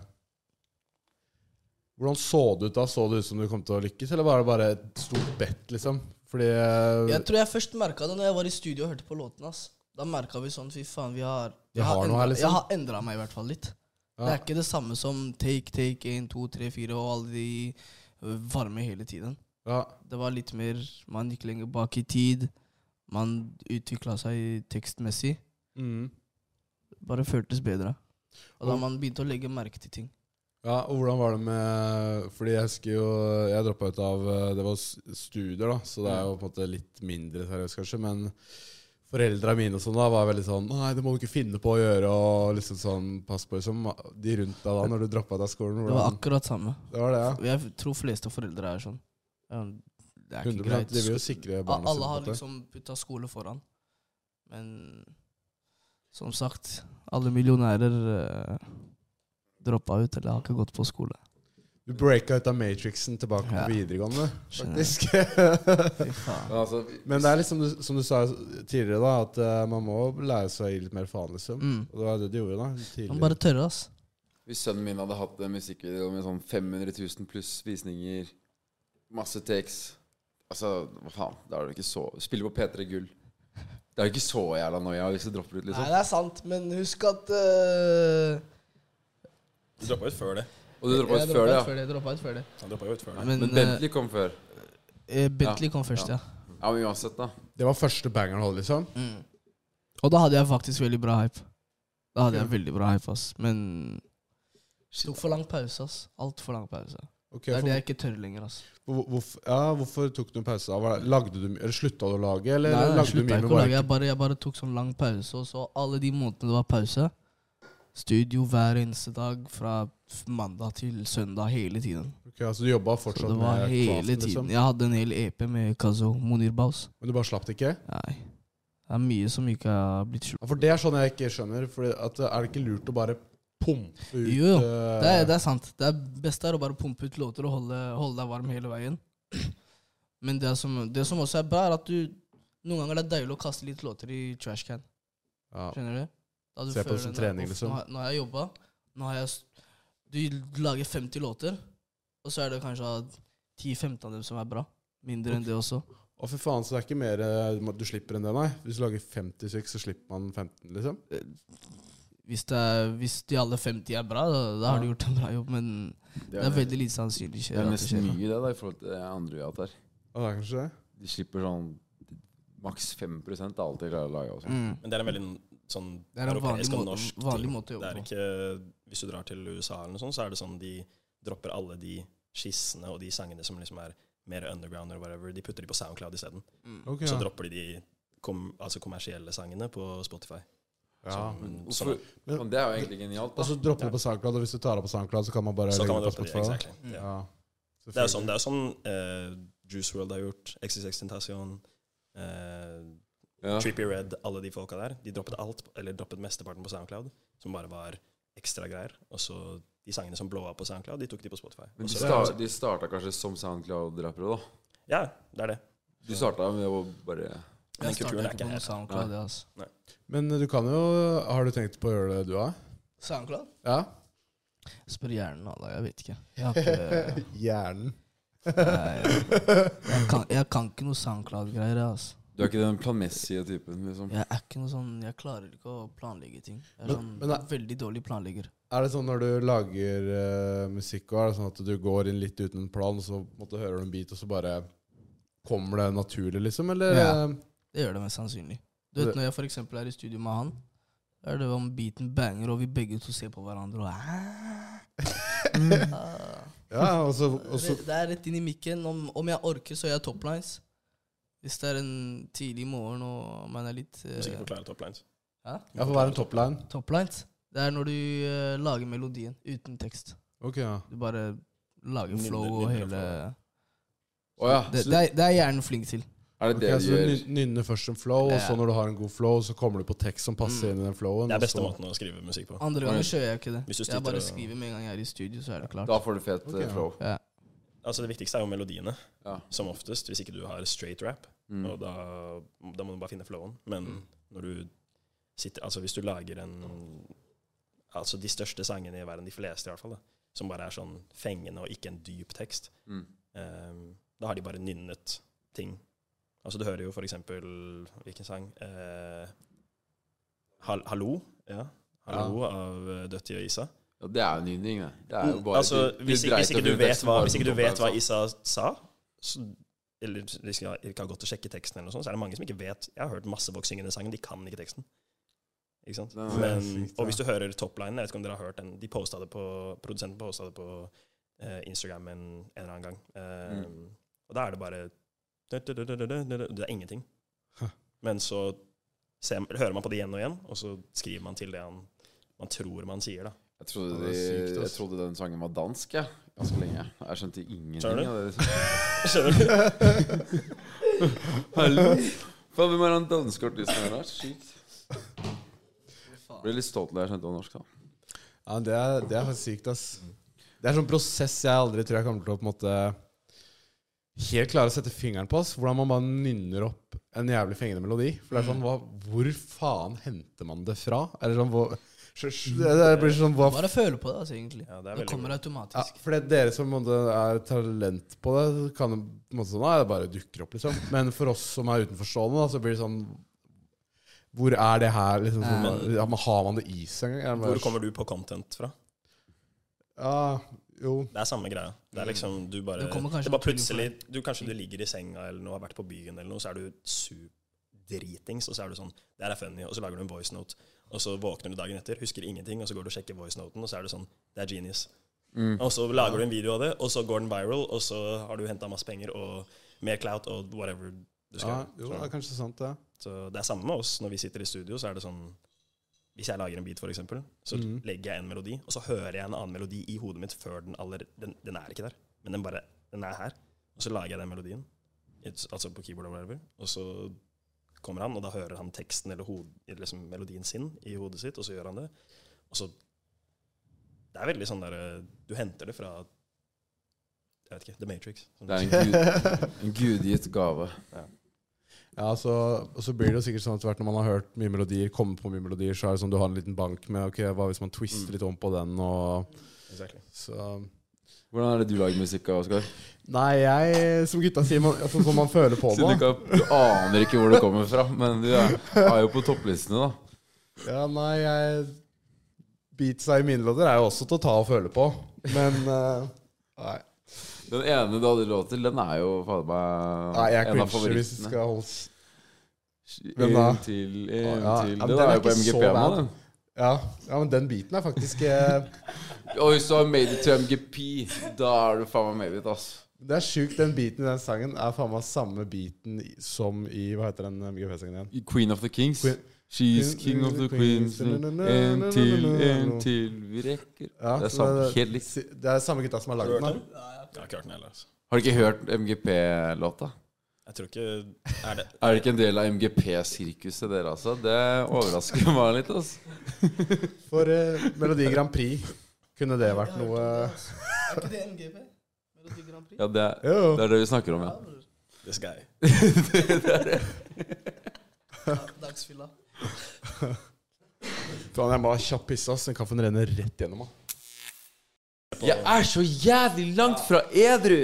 Hvordan så det ut da? Så det ut som du kom til å lykkes, eller var det bare et stort bet, liksom? Fordi eh,
Jeg tror jeg først merka det når jeg var i studio og hørte på låten. ass. Da merka vi sånn Fy faen, vi har
Vi har noe her,
endra-
liksom.
Jeg har endra meg i hvert fall litt. Det
Ja.
er ikke det samme som take, take, 1, 2, 3, 4 og alle de ø, varme hele tiden.
ja,
Det var litt mer Man gikk lenger bak i tid. Man utvikla seg tekstmessig.
mm,
Bare føltes bedre. Og da
Og-
man begynte å legge merke til ting.
ja, og hvordan var det med Fordi jeg husker jo Jeg droppa ut av eh, Det var s- studier, da, så det er jo på en måte litt mindre seriøst, kanskje, men Foreldra mine og sånn da var veldig sånn Nei, det må du ikke finne på å gjøre. Og liksom sånn, pass på liksom, De rundt deg da når du droppa ut av skolen.
Det var
Hvordan,
akkurat samme.
det var det, ja.
Og Jeg tror fleste foreldre er sånn. Ja, Det er ikke
100
greit.
De vil jo sikre
Ja,
barna
Alle har
sine. på en måte.
liksom putta skole foran. Men som sagt, alle millionærer eh, droppa ut eller har ikke gått på skole.
Du breaka ut av Matrixen tilbake
Ja.
på videregående,
Skjønner.
faktisk.
Fy faen.
Men altså, vi-
Men det er liksom du- som du sa tidligere, da, at eh, man må lære seg å gi litt mer faen, liksom.
Mm.
Og det var det de gjorde, da.
Man
Tidligere.
bare tørre, ass.
Hvis sønnen min hadde hatt en musikkvideo med sånn 500 000 pluss visninger, masse takes Altså, hva faen? Da er det ikke så Spille på P3 Gull. Det er jo ikke så jævla noia hvis du dropper ut, liksom.
det er sant, men husk at eh,
Du droppa ut før det.
Og du droppa
jeg
ut før det, ja.
det. droppa ut før det.
Han droppa jo ut før det.
Men,
Men Bentley kom før.
eh, eh, Bentley kom først, ja.
Ja, men uansett, da.
Det var første bangeren holdt, liksom.
Mm. Og da hadde jeg faktisk veldig bra hype. Da hadde jeg veldig bra hype, ass. Men tok for lang pause, ass. Altfor lang pause.
Ok,
Det er det
for,
jeg ikke tør lenger. altså.
hvor, hvorfor- ja, hvorfor tok du en pause? da? Var det- Lagde du, eller slutta du å lage, eller
Nei, jeg
lagde du
slutta
mye
ikke
med
å lage.
bare
Jeg bare, jeg bare tok sånn lang pause, og så alle de månedene det var pause Studio hver eneste dag fra f- mandag til søndag hele tiden.
Ok, altså Du jobba
Så
fortsatt
det var
med
hele
craften,
tiden.
liksom?
Jeg hadde en hel EP med Kazo Monir Baus.
Men du bare slapp det ikke?
Nei. Det er mye som ikke har blitt skjult.
Ja, for det er sånn jeg ikke skjønner. For at, er det ikke lurt å bare pumpe ut
Jo, jo.
eh,
Det er, det er sant. Det er beste er å bare pumpe ut låter og holde, holde deg varm hele veien. Men det som, det som også er bra, er at du Noen ganger er det deilig å kaste litt låter i trashcan.
ja.
Skjønner du? Da du
Se på det
føler
som
den der,
trening,
«Uff,
liksom».
Nå har, nå har jeg jobba. Nå har jeg s- Du lager 50 låter, og så er det kanskje 10-15 av dem som er bra. Mindre enn det også.
Å, fy faen, så det er ikke mer eh, du slipper enn det, nei? Hvis du lager 50 stykk, så slipper man 15, liksom?
Hvis, det er, hvis de alle 50 er bra, da, da har du gjort en bra jobb, men det er veldig lite sannsynlig
Det er
skjer at det
nesten
skjer.
mye, det, da, i forhold til det andre vi har hatt her.
Ja, det er kanskje det?
De slipper sånn maks 5 av alt de klarer å lage. Altså.
Mm.
Men det er en veldig sånn
Det er en vanlig,
europeisk og
må,
norsk ting.
vanlig
Det
måte å jobbe
er
på.
ikke, Hvis du drar til USA, eller noe sånt, så er det sånn de dropper alle de skissene og de sangene som liksom er mer underground, eller whatever, de putter de på SoundCloud isteden.
Mm.
Ok,
Så
ja.
dropper de de kom, altså kommersielle sangene på Spotify.
ja.
Som-
Hvorfor-
Men-
Men det er jo egentlig genialt.
Og
Da.
så dropper du på SoundCloud, og hvis du tar opp på SoundCloud, så kan man bare
Så kan man
det
droppe de. Exactly.
Mm.
Ja.
Ja.
Det er jo sånn, det er jo sånn eh, Juice World har gjort, XXX Tentacion, eh,
Ja.
Trippy Red, alle de folka der. De droppet alt, eller droppet mesteparten på SoundCloud, som bare var ekstra greier. Og så de sangene som blowa på SoundCloud, de tok de på Spotify.
Men
Og
de,
så-
sta- de starta kanskje som Soundcloud-rappere, da.
Ja, det er det.
De starta med å bare
Den kulturen
Jeg starter
er
ikke
ikke
på noe
her.
SoundCloud. det, Altså.
Men du kan jo Har du tenkt på å gjøre det, du òg?
SoundCloud?
Ja?
Spør hjernen, alle. Jeg vet ikke. Jeg, har ikke,
Hjernen.
jeg, kan, jeg kan ikke noe SoundCloud-greier. jeg, Altså.
Du er ikke den planmessige typen, liksom.
Jeg er ikke noe sånn Jeg klarer ikke å planlegge ting. Jeg er
Men- men
sånn
det-
veldig dårlig planlegger.
Er det sånn når du lager eh, musikk, og er det sånn at du går inn litt uten en plan, og så på en måte, hører du en beat, og så bare kommer det naturlig, liksom? Eller
Ja.
eh,
Det gjør det mest sannsynlig. Du vet
Det-
Når jeg for eksempel er i studio med han, da er det om beaten banger, og vi begge to ser på hverandre og Ah.
Ja, og så, og så
det, det er rett inn i mikken. Om, om jeg orker, så gjør jeg toplines. Hvis det er en tidlig morgen og man er litt
Du må
eh,
sikkert forklare topplines.
Hæ?
Ja, for hva er en topline?
Toplines? Det er når du eh, lager melodien uten tekst.
Ok, ja.
Du bare lager
Nynner-
flow og
nynner
hele
flow.
Å ja.
det, det, er, det er hjernen flink til.
Er det
Ok,
det
så
du gjør?
nyn- nynner først en flow, og så
Ja.
når du har en god flow, så kommer du på tekst som passer
Mm.
inn i den flowen.
Det er
og
beste
så-
måten å skrive musikk på.
Andre ganger så gjør jeg ikke det.
Hvis du
Jeg
støtter
bare
og-
skriver med en gang jeg er i studio, så er det klart.
Da får du fet
Ok,
eh,
ja.
flow.
Ja.
Altså Det viktigste er jo melodiene,
Ja.
som oftest, hvis ikke du har straight rap.
Mm.
Og da, da må du bare finne flowen. Men
Mm.
når du sitter Altså hvis du lager en Altså de største sangene i verden, de fleste i hvert fall, da, som bare er sånn fengende og ikke en dyp tekst,
Mm.
ehm, da har de bare nynnet ting. Altså du hører jo for eksempel Hvilken sang? Eh, Hal Hallo? Ja. Hallo av eh, Dødt og Isa.
Ja, det er jo nynning, det. det er jo bare,
Altså,
du- du
hvis,
dreit
hvis, ikke
opp
du
i
vet
teksten
hva,
bare som
hvis
altså.
ikke du vet hva
topline,
Isa sa, så, eller hvis jeg ikke har gått og sjekket teksten, eller noe sånt, så er det mange som ikke vet Jeg har hørt masse folk synge den sangen, de kan ikke teksten. Ikke sant?
Nei,
det er
Men,
sykt, ja.
og hvis du hører topline, jeg vet ikke om dere har hørt den de postet det på, Produsenten posta det på eh, Instagram en, en eller annen gang.
Mm.
Eh, Og da er det bare Det er ingenting.
Huh.
Men så ser, hører man på det igjen og igjen, og så skriver man til det han, man tror man sier. da
Jeg trodde,
Ja, det er
de-
sykt, ass.
jeg trodde den sangen var dansk, jeg. Ganske lenge. Jeg skjønte
Skjønner
ingenting
du?
av det.
Skjønner du?
Hallo? Faen, hvem er han danske artisten her? da? Sykt. Jeg Ble litt stolt da jeg skjønte det var norsk, da.
Ja, men det er, det er faktisk sykt, ass. Det er sånn prosess jeg aldri tror jeg kommer til å på en måte helt klare å sette fingeren på. ass. Hvordan man bare nynner opp en jævlig fengende melodi. For det er sånn, hva, Hvor faen henter man det fra? Eller sånn, hvor, det det blir sånn hva,
Bare føle på det, altså, egentlig.
Ja,
det,
det er veldig
kommer
bra.
ja,
automatisk.
For det er dere som på en måte er talent på det, kan jo på en måte sånn, ja, det bare dukker opp, liksom. Men for oss som er utenforstående, da, så blir det sånn Hvor er det her? liksom sånn, ja, men Har man det i seg engang? Jeg bare-
Hvor kommer du på content fra?
Ja, jo.
Det er samme greia. Det er liksom, du bare,
Det
det
kommer kanskje
bare
naturlig for
plutselig du, Kanskje du ligger i senga eller noe, har vært på byen eller noe, så er du superdritings, og så er du sånn Det her er funny, og så lager du en voice note, og så våkner du dagen etter, husker ingenting, og så går du og sjekker voice noten, og så er du sånn Det er genius.
Mm.
Og så lager du en video av det, og så går den viral, og så har du henta masse penger og mer clout og whatever du skal Sånn.
Ja,
gjøre.
jo, det er kanskje sant, det.
Så det er samme med oss. Når vi sitter i studio, så er det sånn Hvis jeg lager en beat, for eksempel, så
Mhm.
legger jeg en melodi, og så hører jeg en annen melodi i hodet mitt før den aller Den, den er ikke der, men den bare Den er her. Og så lager jeg den melodien, It's- altså på keyboard og whatever, og så kommer han, og da hører han teksten eller, hod, eller liksom melodien sin i hodet sitt, og så gjør han det. Og så Det er veldig sånn derre Du henter det fra Jeg vet ikke The Matrix. Sånn,
Det er en, gud, en gudgitt gave.
Ja, så, og så blir det jo sikkert sånn at hvert når man har hørt mye melodier, kommer på mye melodier, så er det sånn du har en liten bank med Ok, hva hvis man
Mm.
twister litt om på den, og
exactly.
så
Hvordan er det du lager musikk av, Oskar?
Nei, jeg Som gutta sier, man, altså, som man føler på
Siden du,
det.
ikke, har- du aner ikke hvor det kommer fra, men du er, er jo på topplistene, da.
Ja, nei, jeg Beatsa i mine låter er jo også til å ta og føle på, men eh, Nei,
Den ene du hadde låt til, den er jo fader meg
nei jeg
en av
crincher hvis det
favorittene.
skal holdes Hvem da?
En til, en
Å, ja.
til.
Ja, men
Den,
den er
er jo på
ikke så
MGP nå,
bad.
den.
ja, ja, men den biten er faktisk eh,
Og hvis du har made it to MGP, da er du faen meg made it, ass.
Det er sjukt, den biten i den sangen er faen meg samme biten i- som i Hva heter den MGP-sangen igjen?
Queen of the Kings.
Queen-
She's
Queen-
king of the
Queens.
queens. En til, en til, vi rekker
Ja,
Det er
så
samme,
det-
helt likt.
si- Det er samme gutta som har lagd den. da.
Jeg har ikke hørt den heller. Altså.
Har du ikke hørt MGP-låta?
Jeg tror ikke Er det
Er det ikke en del av MGP-sirkuset, dere altså? Det overrasker meg litt. Altså.
For eh, Melodi Grand Prix kunne det vært noe eh,
Er ikke det MGP? Melodi Grand Prix?
Ja, det er,
Jo.
det er det vi snakker om, ja.
bror.
This guy?
Da- Dagsfylla.
Faen, jeg må ha kjapp pisse, ass. Den kaffen renner rett gjennom meg.
Jeg er så jævlig langt fra edru!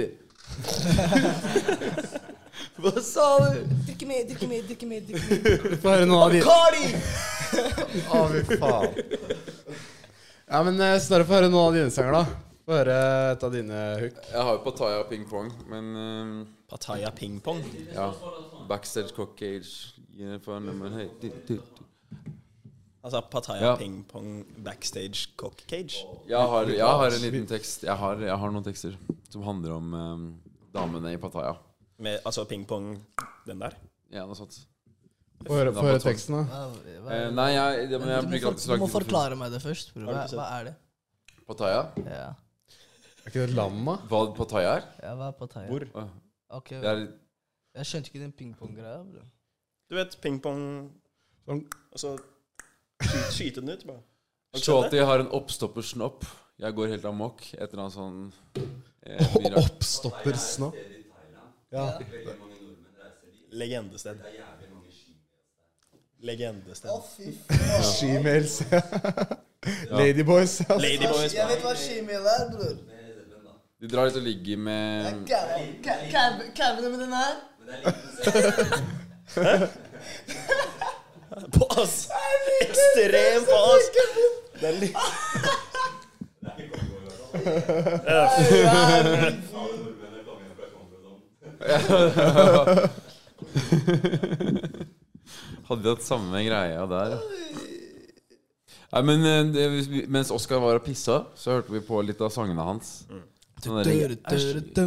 Hva sa du?
Drikke mer, drikke mer, drikke mer. drikke
Få høre noen av de
Kari!
Å, fy faen. Ja, men eh, Snorre, få høre noen av dine sanger, da. Få høre et av dine hook.
Jeg har jo Pattaya ping pong, men ehm,
Pattaya pingpong.
ja. Backstage cockage yeah, for a number, hey, du, du, du.
Altså Pattaya
Ja.
pingpong backstage cock cage.
Jeg har, jeg har en liten tekst. Jeg har, jeg har noen tekster som handler om ehm, damene i Pattaya.
Med, altså pingpong den der.
Ja, noe sånt.
Få høre, få høre teksten, da.
Eh, nei, jeg, det, men jeg
du,
bruker
må for,
alltid
du
så lang tid
må
på å finne-
forklare meg det først, bror. Hva,
Har du ikke sett?
hva er det?
Pattaya?
Ja,
Er ikke det lam, da?
Hva Pattaya er?
ja hva er Pattaya?
Hvor?
Åh,
Ok,
Det er
Jeg skjønte ikke den pingpong-greia, bror.
Du vet pingpong
Sånn.
Og så skyte, skyte den ut, bare. Har du ikke sett det?
Shorty har en oppstoppersnopp. Jeg går helt amok. Et eller annet sånn eh, mye rart.
Oppstopper snopp. Ja.
Legendested. Legendested.
Shemales. Ladyboys. ass.
Ladyboys. bare.
hva shemale er, bror.
De drar ut og ligger med
Cabene med den her.
Pass! Ekstrem pass! Det er litt
Hadde vi hatt samme greia der. Nei, men eh, det, hvis vi- Mens Oskar var og pissa, så hørte vi på litt av sangene hans. Sånn der-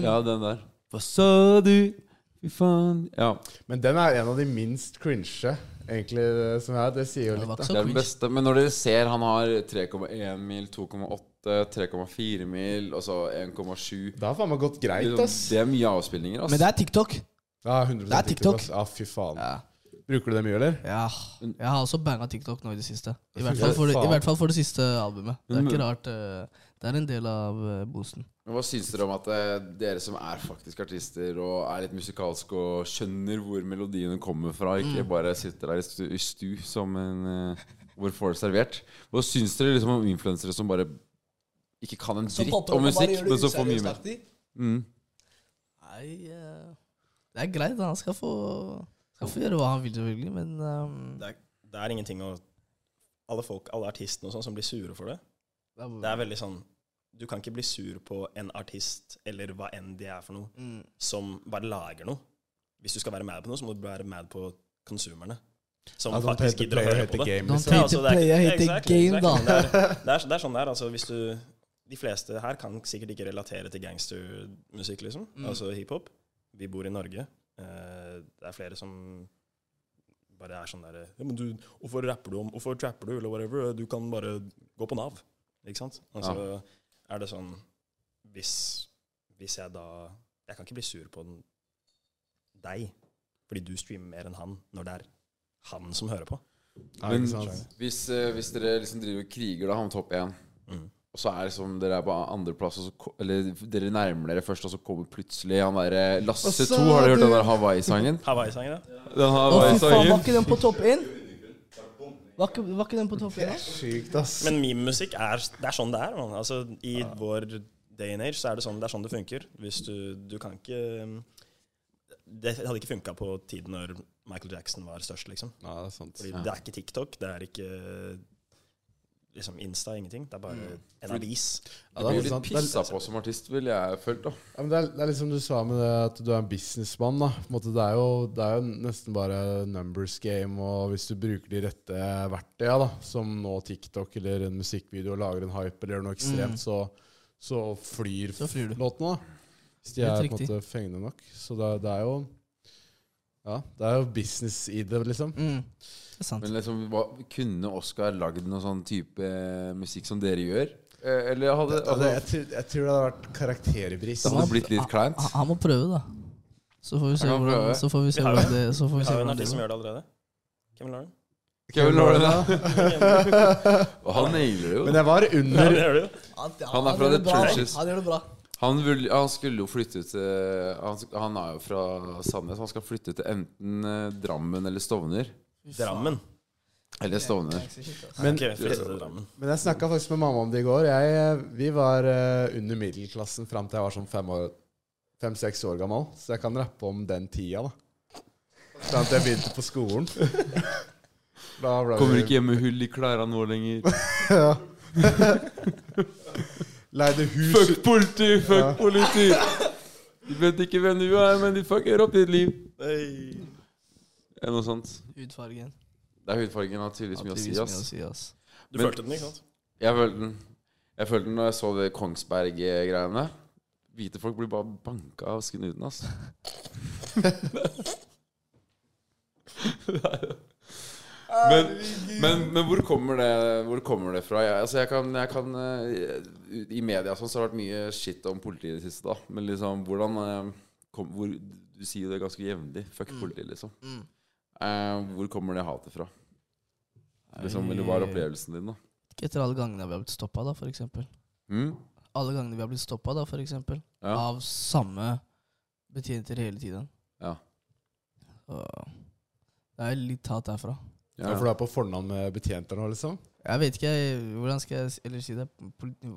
Ja, den der. Hva sa du? Fy faen Ja.
Men den er en av de minst cringe, egentlig, eh, som er. Det sier jo
Det
litt,
var
da.
Det
ikke så
er den
cringe.
beste. Men når dere ser han har 3,1 mil, 2,8, 3,4 mil, og så 1,7
Det har faen meg gått greit,
Liksom,
ass.
Det er mye avspillinger, ass.
Men det er TikTok.
Ja, 100
Det er TikTok.
ass. Ja, fy faen.
Ja.
Bruker du det mye, eller?
ja. Jeg har også banga TikTok nå i det siste. I hvert
Ja,
fall for det, i
faen.
hvert fall for det siste albumet. Det er
Men-
ikke rart. eh, Det er en del av eh, boosten.
Men Hva syns dere om at eh, dere som er faktisk artister og er litt musikalske og skjønner hvor melodiene kommer fra,
Mm.
ikke bare sitter der i stu, i stu som en eh, hvor får det servert? Hva syns dere liksom om influensere som bare ikke kan en dritt om musikk, men så får mye mer? Mm.
Nei, eh, det er greit. Han skal få, skal få gjøre hva han vil, selvfølgelig, men ehm,
Det er, det er ingenting å Alle folk, alle artistene og sånn som blir sure for det.
det er-
Det er veldig sånn Du kan ikke bli sur på en artist eller hva enn de er for noe.
Mm.
som bare lager noe. Hvis du skal være mad på noe, så må du være mad på konsumerne. Som
Ja, sånn don't hate
faktisk
the
gidder å
player,
høre
hate
på
the
det.
game,
Don't
liksom.
hate
Ja, altså, det er
the
ikke-
player, hate the
exactly,
game,
exactly.
da.
Det er, det er, det er sånn det er. Altså, hvis du, de fleste her kan sikkert ikke relatere til gangstermusikk, liksom.
Mm.
Altså hiphop. Vi bor i Norge. Eh, det er flere som bare er sånn derre ja, men du, 'Hvorfor rapper du om Hvorfor trapper du?' eller whatever. Du kan bare gå på Nav. Ikke sant? Og så er det sånn hvis, hvis jeg da Jeg kan ikke bli sur på den, deg fordi du streamer mer enn han, når det er han som hører på.
Nei,
Men
ikke sant?
hvis, eh, hvis dere liksom driver og kriger da, om topp én,
Mm.
og så er liksom dere er på andreplass, og så ko- eller dere nærmer dere først, og så kommer plutselig han derre Lasse 2. Har dere hørt den der Hawaii-sangen?
Hawaii-sangen, ja.
Den
Å, fy faen, var
Hawaii-sangen.
ikke den på topp én? Var, ikke- var ikke den på topp én? da?
Sykt, ass.
Men mememusikk er, det er sånn det er. Man. Altså, I vår day and age så er det sånn det, er sånn det funker. Hvis du, du kan ikke Det hadde ikke funka på tiden når Michael Jackson var størst, liksom.
Nei, det er sant.
Fordi det er ikke TikTok, det er ikke liksom Insta, ingenting. Det er bare en avis.
Ja,
Du
det
blir
er
litt
sant. Det er-
pissa på som artist, ville jeg følt, da.
Ja, men det, er, det er liksom du sa med det at du er en businessmann. da på en måte, det, er jo, det er jo nesten bare numbers game. Og hvis du bruker de rette verktøya, da som nå TikTok eller en musikkvideo, og lager en hype eller gjør noe ekstremt, så, så flyr,
Mm. Så flyr du.
låtene. da Hvis de
Helt
er på en
riktig.
måte fengende nok. Så det, er- det er jo Ja, det er jo business i det, liksom.
Mm. Det er sant.
Men liksom, hva, kunne Oskar lagd noe sånn type musikk som dere gjør? Eh, Eller hadde,
Ja, det,
hadde,
Altså, jeg, tror, jeg tror det hadde vært karakterbris.
hadde det blitt litt kleint?
Ah,
Han, han må prøve, da. Så får vi se
Han kan
hvordan
prøve.
så får vi
Vi
se
har jo-
hvordan det så får
Vi
vi se
har jo en
hvordan det
artist som
går.
gjør det allerede. Kevin Lauren.
Kevin Lauren, da.
da.
Og han nailer det jo.
ah, Men jeg var
Ja,
under
det gjør du jo.
Han,
Han er fra The
gjør det bra.
Trenches.
Han gjør det bra.
Han, vil, han skulle jo flytte til han, sk- han er jo fra Sandnes. Han skal flytte til enten eh, Drammen eller Stovner.
Drammen.
Eller Stovner.
Men-
Ok, flyttet til Drammen.
Men jeg snakka faktisk med mamma om det i går. Jeg, vi var eh, under middelklassen fram til jeg var sånn fem år- fem-seks år gammel. Så jeg kan rappe om den tida, da. Fram til jeg begynte på skolen. Da ble vi-
Kommer ikke hjem med hull i klærne nå lenger.
Ja. Leide hus
Fuck politi, fuck
Ja.
politi! De vet ikke hvem du er, men de fucker opp ditt liv. Eller noe sånt.
Hudfargen.
Det er hudfargen har tydeligvis mye å si, ass.
Du
Men-
følte den, ikke sant?
Jeg følte den Jeg følte den når jeg så det Kongsberg-greiene. Hvite folk blir bare banka av snuten, ass. men, men, men hvor kommer det Hvor kommer det fra? Jeg, altså jeg kan, jeg kan eh, I media og sånn, så har det vært mye shit om politiet i det siste. da Men liksom hvordan eh, kom, hvor, Du sier jo det ganske jevnlig. Fuck politiet, liksom.
Mm.
Eh, hvor kommer det hatet fra? Liksom, eller hva er opplevelsen din, da?
Ikke etter alle gangene vi har blitt stoppa, da, for eksempel.
Mm?
Alle gangene vi har blitt stoppa, da, for eksempel.
Ja.
Av samme betjenter hele tiden.
Ja.
Så det er litt hat derfra.
Ja, For du er på fornavn med betjenter nå, liksom?
Jeg vet ikke jeg, hvordan skal jeg s- ellers si det. Politi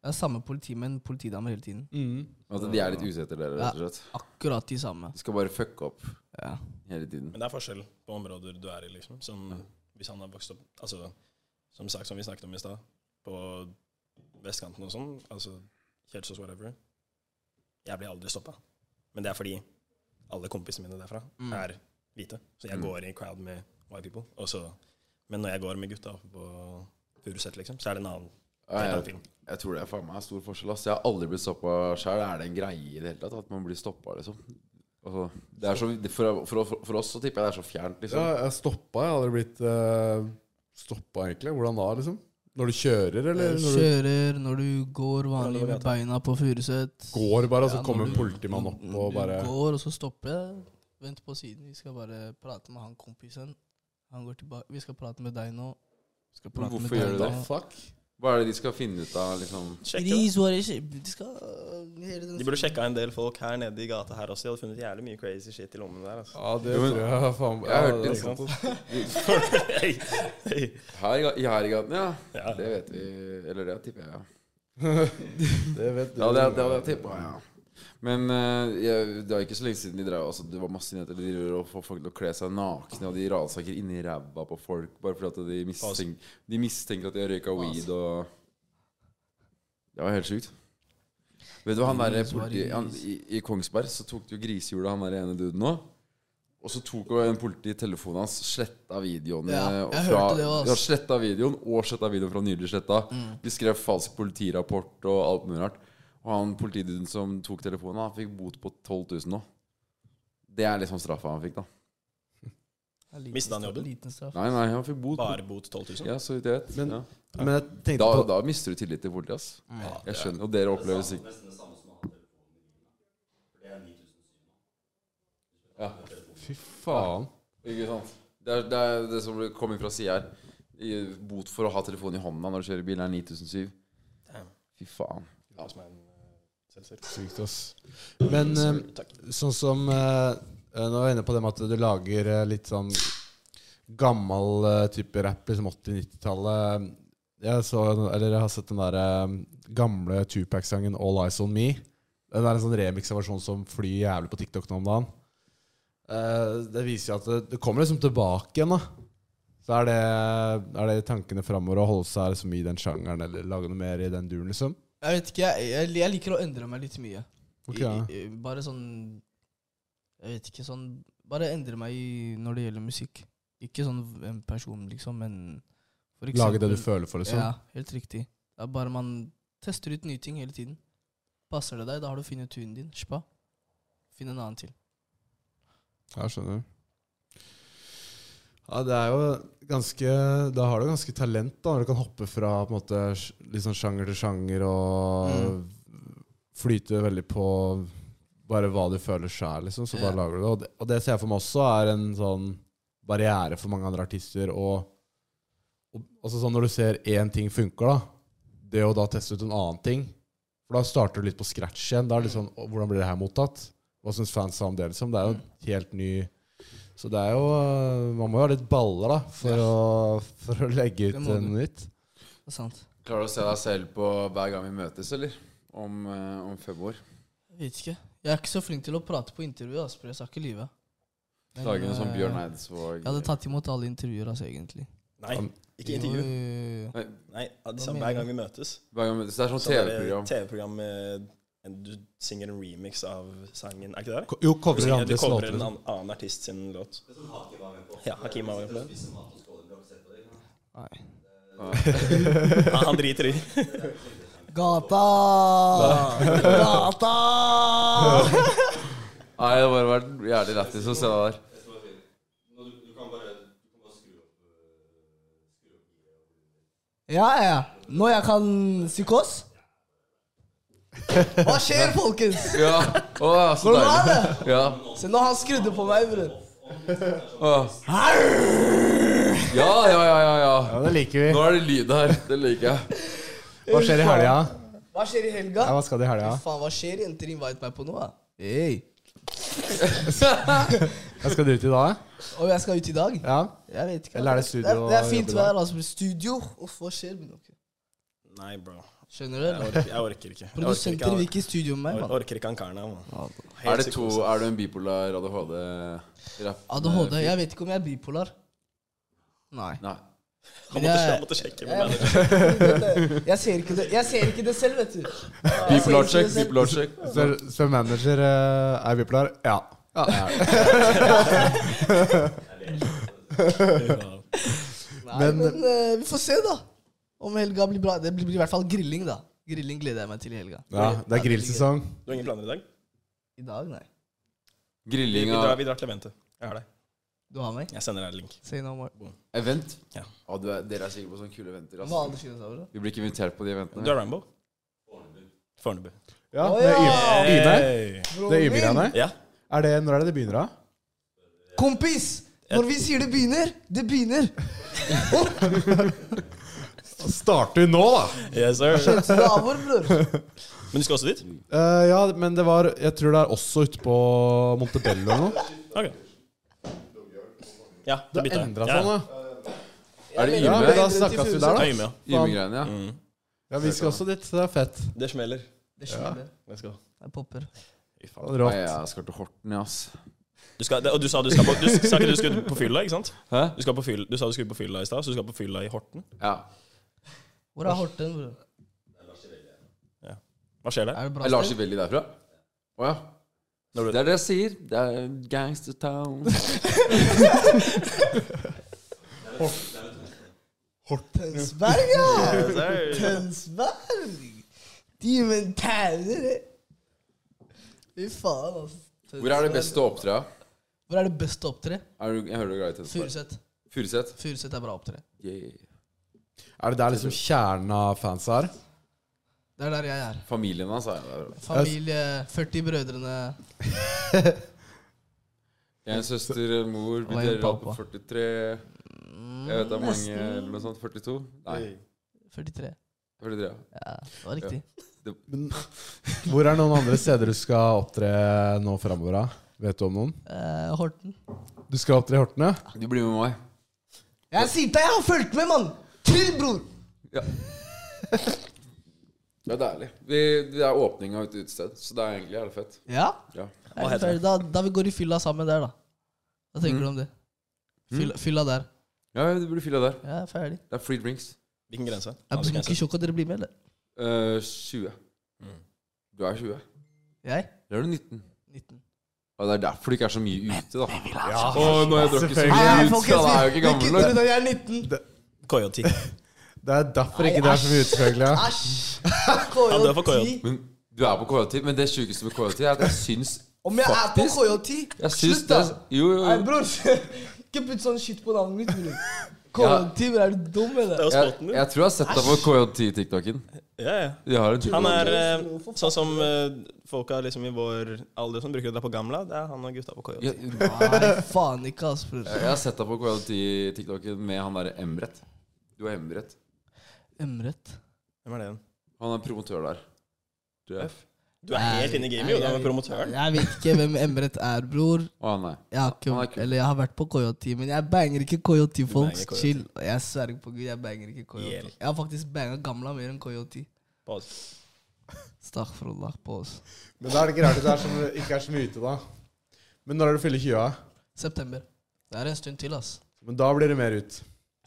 det er samme politimenn, politidamer hele tiden.
At Altså, de er litt ute etter dere, rett og slett.
Akkurat de samme.
De skal bare fucke opp
Ja.
hele tiden.
Men det er forskjell på områder du er i, liksom. Som, hvis han har vokst opp Altså, som sagt, som vi snakket om i stad, på vestkanten og sånn, altså Kjelsås whatever Jeg blir aldri stoppa. Men det er fordi alle kompisene mine derfra
Mm.
er hvite. Så jeg
Mm.
går i crowd med white people. Og så, men når jeg går med gutta oppe på Furuset, liksom, så er det en annen, det er en
Ja,
annen
jeg,
film.
jeg tror det er faen meg stor forskjell. Ass. Jeg har aldri blitt stoppa sjøl. Er det en greie i det hele tatt at man blir stoppa, liksom? Altså, det er så, det- for, for, for, for oss så tipper jeg det er så fjernt,
Ja,
liksom.
jeg stoppa. Jeg hadde blitt uh, stoppa, egentlig. Hvordan da, liksom? Når du kjører,
Eh,
eller når du
Kjører når du går vanlig med beina på Furuset.
går, bare, og så
Ja,
kommer
når
en
du-
politimann opp og bare
Du går, og så stopper jeg. Vent på siden. Vi skal bare prate med han kompisen. Han går tilbake. Vi skal prate med deg nå. Vi skal prate
hvorfor
med
gjør
deg
du det?
nå.
Fuck.
Hva er det de skal finne ut av, liksom?
Sjekk det.
Gris, hva er det? De skal hele den-
De burde sjekka en del folk her nede i gata her også. De hadde funnet jævlig mye crazy shit i lommene der.
Ja, det
Jo, men-
tror jeg faen
Jeg hørte
det er
det,
sant, ass.
Altså. Hei, hei.
Her, i ga- i her i gaten, ja.
Ja.
Det vet vi. Eller det tipper jeg, ja.
Det vet du.
Ja, det, det hadde jeg tippa, ja. Men eh, jeg, det var ikke så lenge siden de drev altså, Det var masse nyheter. De driver og får folk til å kle seg nakne, og de ransaker inni ræva på folk bare fordi at de, mistenker, de mistenker at de har røyka weed og Det var helt sjukt. Vet du hva, han der
Gris var
politi...
gris.
Han, i, I Kongsberg så tok de jo grisehjulet, han der ene duden nå. Og så tok jo en politi telefonen hans, sletta videoen
Ja,
eh, fra,
jeg hørte det også. Mm.
Ja, sletta videoen og sletta videoen fra nylig sletta. Vi skrev falsk politirapport og alt mulig rart. Og han politiduden som tok telefonen, han fikk bot på 12 000 nå. Det er liksom straffa han fikk, da.
Mistet han jobben?
Liten straff.
Nei, nei, han fikk bot.
Bare bot 12
På,
000?
ja, så vidt jeg vet.
Men-
ja.
Men jeg tenkte
da,
på
da mister du tillit til politiet, ass.
Mm.
jeg skjønner, og dere opplever sikkert Ja.
Fy faen.
Ikke sant? Det er det, er det som kommer fra sida her. I- Bot for å ha telefonen i hånda når du kjører bil, er 9007.
Damn.
Fy faen.
Ja. Som er en, eh, selvsagt.
Sykt, ass. Men eh,
Takk.
sånn som eh, Nå er jeg inne på det med at du lager eh, litt sånn gammel eh, type rap, liksom 80-90-tallet. Jeg, så, eller jeg har sett den der eh, gamle Tupac-sangen 'All Eyes On Me'. Den er en sånn remix-versjon som flyr jævlig på TikTok nå om dagen. Eh, det viser jo at det, det kommer liksom tilbake igjen, da. Så er det, er det tankene framover å holde seg liksom, i den sjangeren, eller lage noe mer i den duren, liksom?
Jeg vet ikke, jeg, jeg, jeg liker å endre meg litt mye.
Ok.
I, i, bare sånn Jeg vet ikke, sånn Bare endre meg i, når det gjelder musikk. Ikke sånn en person, liksom, men for
Lage det du
eksempel-
føler for, liksom?
Ja, helt riktig. Det er bare man tester ut nye ting hele tiden. Passer det deg, da har du funnet tunen din. Spa. Finn en annen til.
Jeg skjønner. Ja, det er jo ganske Da har du ganske talent, da, når du kan hoppe fra på en måte, sj- litt sånn sjanger til sjanger og flyte veldig på bare hva du føler sjæl, liksom. Så bare
Ja.
lager du det. Og, det. og det ser jeg for meg også er en sånn barriere for mange andre artister. Og, og altså sånn når du ser én ting funker, da, det å da teste ut en annen ting For da starter du litt på scratch igjen. Da er det litt sånn, «Å, Hvordan blir det her mottatt? Hva syns fansa om det? liksom? Det er jo helt ny Så det er jo øh, Man må jo ha litt baller, da, for, å, for å legge ut
Det må
noe
du.
nytt.
Det er sant.
Klarer du å se deg selv på hver gang vi møtes, eller? Om, eh, om fem år.
Jeg vet ikke. Jeg er ikke så flink til å prate på intervju, altså, for jeg skal ikke lyve. Men,
Lage noe sånn
eh,
Bjørn Eidsvåg
Jeg hadde tatt imot alle intervjuer, altså, egentlig.
Nei, ikke intervju.
Jo,
Nei,
Nei, ja, de
Hva
sa
mener
hver
du?
gang vi møtes.
hver gang vi møtes. Det er sånn
Så er det
TV-program.
TV-program med en- Du synger en remix av sangen, er ikke det det?
Ko- Jo,
Du,
covrer
synger, du
andres
covrer
låter.
en
liksom.
annen, annen artist sin låt. Ja, Hakim var med på det. Han, han driter i.
Gata! Gata!
Nei, det har bare vært jævlig lættis å se deg der.
Ja, ja. Når jeg kan psykos? Hva skjer, folkens?
Ja, å, så
Hvordan var
deilig.
det?
Ja,
Se, nå har han skrudde på meg, bror.
å. ja, ja, ja, ja, ja.
Ja, det liker vi.
Nå er det lyd her. Det liker jeg.
Hva skjer i helga?
Hva skjer i helga?
Ja, hva skal du i helga?
Faen, hva skjer? Jenter invite meg på noe. da. Hey.
Hva skal du ut i dag?
Og jeg skal ut i dag?
Ja?
Jeg vet ikke. altså.
Eller er det studio
Det er, det er
og
fint
jobb i dag?
vær. altså. Studio? Uff, hva skjer? med dere?
Nei, bro.
Skjønner du?
Jeg
eller?
orker, jeg orker ikke. Jeg orker ikke,
Produsenter
altså.
vil
han-
ikke i studio med meg.
jeg
mann.
orker ikke han karen her. man. Helt altså.
Er det to
psykose.
Er du en bipolar ADHD-rapp?
ADHD. Jeg vet ikke om jeg er bipolar. Nei.
Nei.
Han
Men
måtte,
jeg-
han måtte sjekke med manageren.
Jeg ser ikke det, jeg ser ikke det selv, vet du. Jeg ser
Bipolar
ikke
check,
det selv.
bipolar check.
Så, så manager eh, er bipolar? Ja.
Nei, men eh, vi får se, da. Om helga blir bra. Det blir, blir i hvert fall grilling, da. Grilling gleder jeg meg til i helga.
ja det er grillsesong.
Du har ingen planer i dag?
I dag, nei.
Vi, vi,
Grilling
drar,
av
vi drar til eventet. Jeg har deg.
Du har meg?
Jeg sender deg en link.
Say no more.
event.
Ja.
Ja, du er, dere er sikre på sånne kule eventer.
Hva
Altså.
andre synes jeg,
Vi blir ikke invitert på de
Du
eventene.
er Rambo? Fornebu.
Ja,
Å,
det er
ja!
Y- Yme.
bro?
Det er Yme-greiene.
Ja.
Er det, når er det det begynner, da?
Kompis! Når vi sier det begynner, det begynner.
Starter vi nå, da?
Yes, sir.
Så Altså, det er vår, bror.
Men du skal også dit?
Eh, ja, men det var Jeg tror det er også ute på Montebello eller noe.
Ok. Ja,
Det
det bytta
har
jeg.
endra
ja.
seg nå.
Er det
Ja, men da
Yme?
snakkes vi der,
Ja,
da.
Yme, ja.
Yme-greiene, ja.
Mm.
Ja, Vi skal også dit. så Det er fett.
Det smeller.
Det smeller.
Let's go.
Jeg popper.
Nei,
Rått.
jeg skal til Horten, ja, ass.
Du skal, og du sa du skal på, du sa ikke du skulle på fylla, ikke sant?
Hæ?
Du, skal på fylla, du sa du skulle på fylla i stad, så du skal på fylla i Horten.
Ja.
Hvor er Horten, bror?
Hva skjer der?
Er det bra
Er Lars
sted?
Ivelli derfra? Å ja.
Når du,
Det er det jeg sier. Det er gangster town.
Tønsberg, ja! Tønsberg! De med tæner. Fy faen, altså.
Hvor er det beste å opptre?
Hvor er det best å opptre?
Er du, jeg hører du er glad i Tønsberg.
Furuset.
Furuset?
Furuset er bra å opptre.
Yeah.
Er det der liksom kjernen av fans er?
Det er der jeg er.
Familien hans er der.
Familie, 40 brødrene
Jeg er en søster, en mor, vi
Og en
deler alt på
pappa.
43 Jeg vet det er mange, eller noe sånt. 42? Nei,
43.
43. ja.
Ja, det var riktig.
Hvor er noen andre steder du skal opptre nå framover? da? Vet du om noen?
Eh, Horten.
Du skal opptre i Hortene?
Du blir med meg.
Jeg sier deg, jeg har fulgt med, mann! Trill, bror!
Ja. Det er deilig. Vi, det er åpning av et utested, så det er egentlig jævlig fett.
Ja?
Ja.
Er det
heter Mm.
ferdig? Da, da vi går i fylla sammen der, da. Hva tenker du om det? Fylla, fylla der.
ja, du blir fylla der.
Ja, ferdig.
Det er free drinks.
hvilken grense?
Jeg blir ikke
Aldersgrense.
sjokk at dere blir med, eller?
Eh, 20. Mm. Du er 20.
Jeg?
Eller er du 19?
19.
Ja, det er derfor du ikke er så mye ute, da.
Ja,
Og når jeg drakk så
selvfølgelig.
mye ut, så da er jeg jo ikke gammel nok.
Jeg er 19.
Coyote.
Det er derfor ikke det er så mye utfølgelig. ja.
Æsj!
Ja, du er for
KJ10.
KJ.
Men du er på KJ10, men det sjukeste med KJ10 er at jeg syns
Om jeg er på KJ10,
Jeg syns
slutt,
det
da!
Jo, jo,
Nei,
jo.
bror. Ikke putt sånn shit på navnet mitt, bror. KJ10, bror, er du dum,
Det er
eller?
jo
Jeg,
spotten din.
jeg tror jeg har sett deg på KJ10-tiktoken.
Ja, ja.
De har en
Han er eh,
Hvorfor
sånn som eh, folka liksom i vår alder som bruker å dra på Gamla. Det er han og gutta på Coyote.
jeg, jeg
Nei, faen ikke, ass, bror.
har sett deg på KJ10-tiktoken med han derre Emret. Du er Emret.
Emret.
Hvem er det igjen?
Han er promotør der. Du er F?
Du er helt inne i gamet, jo. Du er med promotøren.
Jeg vet ikke hvem Emret er, bror.
Å nei.
Jeg har,
Han er
ikke,
kul.
eller jeg har vært på KJ10, men jeg banger ikke KJ10, folks.
banger KJ10.
Chill. Jeg sverger på gud, jeg banger ikke KJ10.
Hjel.
Jeg har faktisk banga gamla mer enn KJ10.
Pause.
Stakhfrullah på oss.
Men da er det ikke rart at det er så- ikke er så mye ute, da. Men når er det du fyller 20? da?
September. Det er en stund til, ass.
Men da blir det mer ut.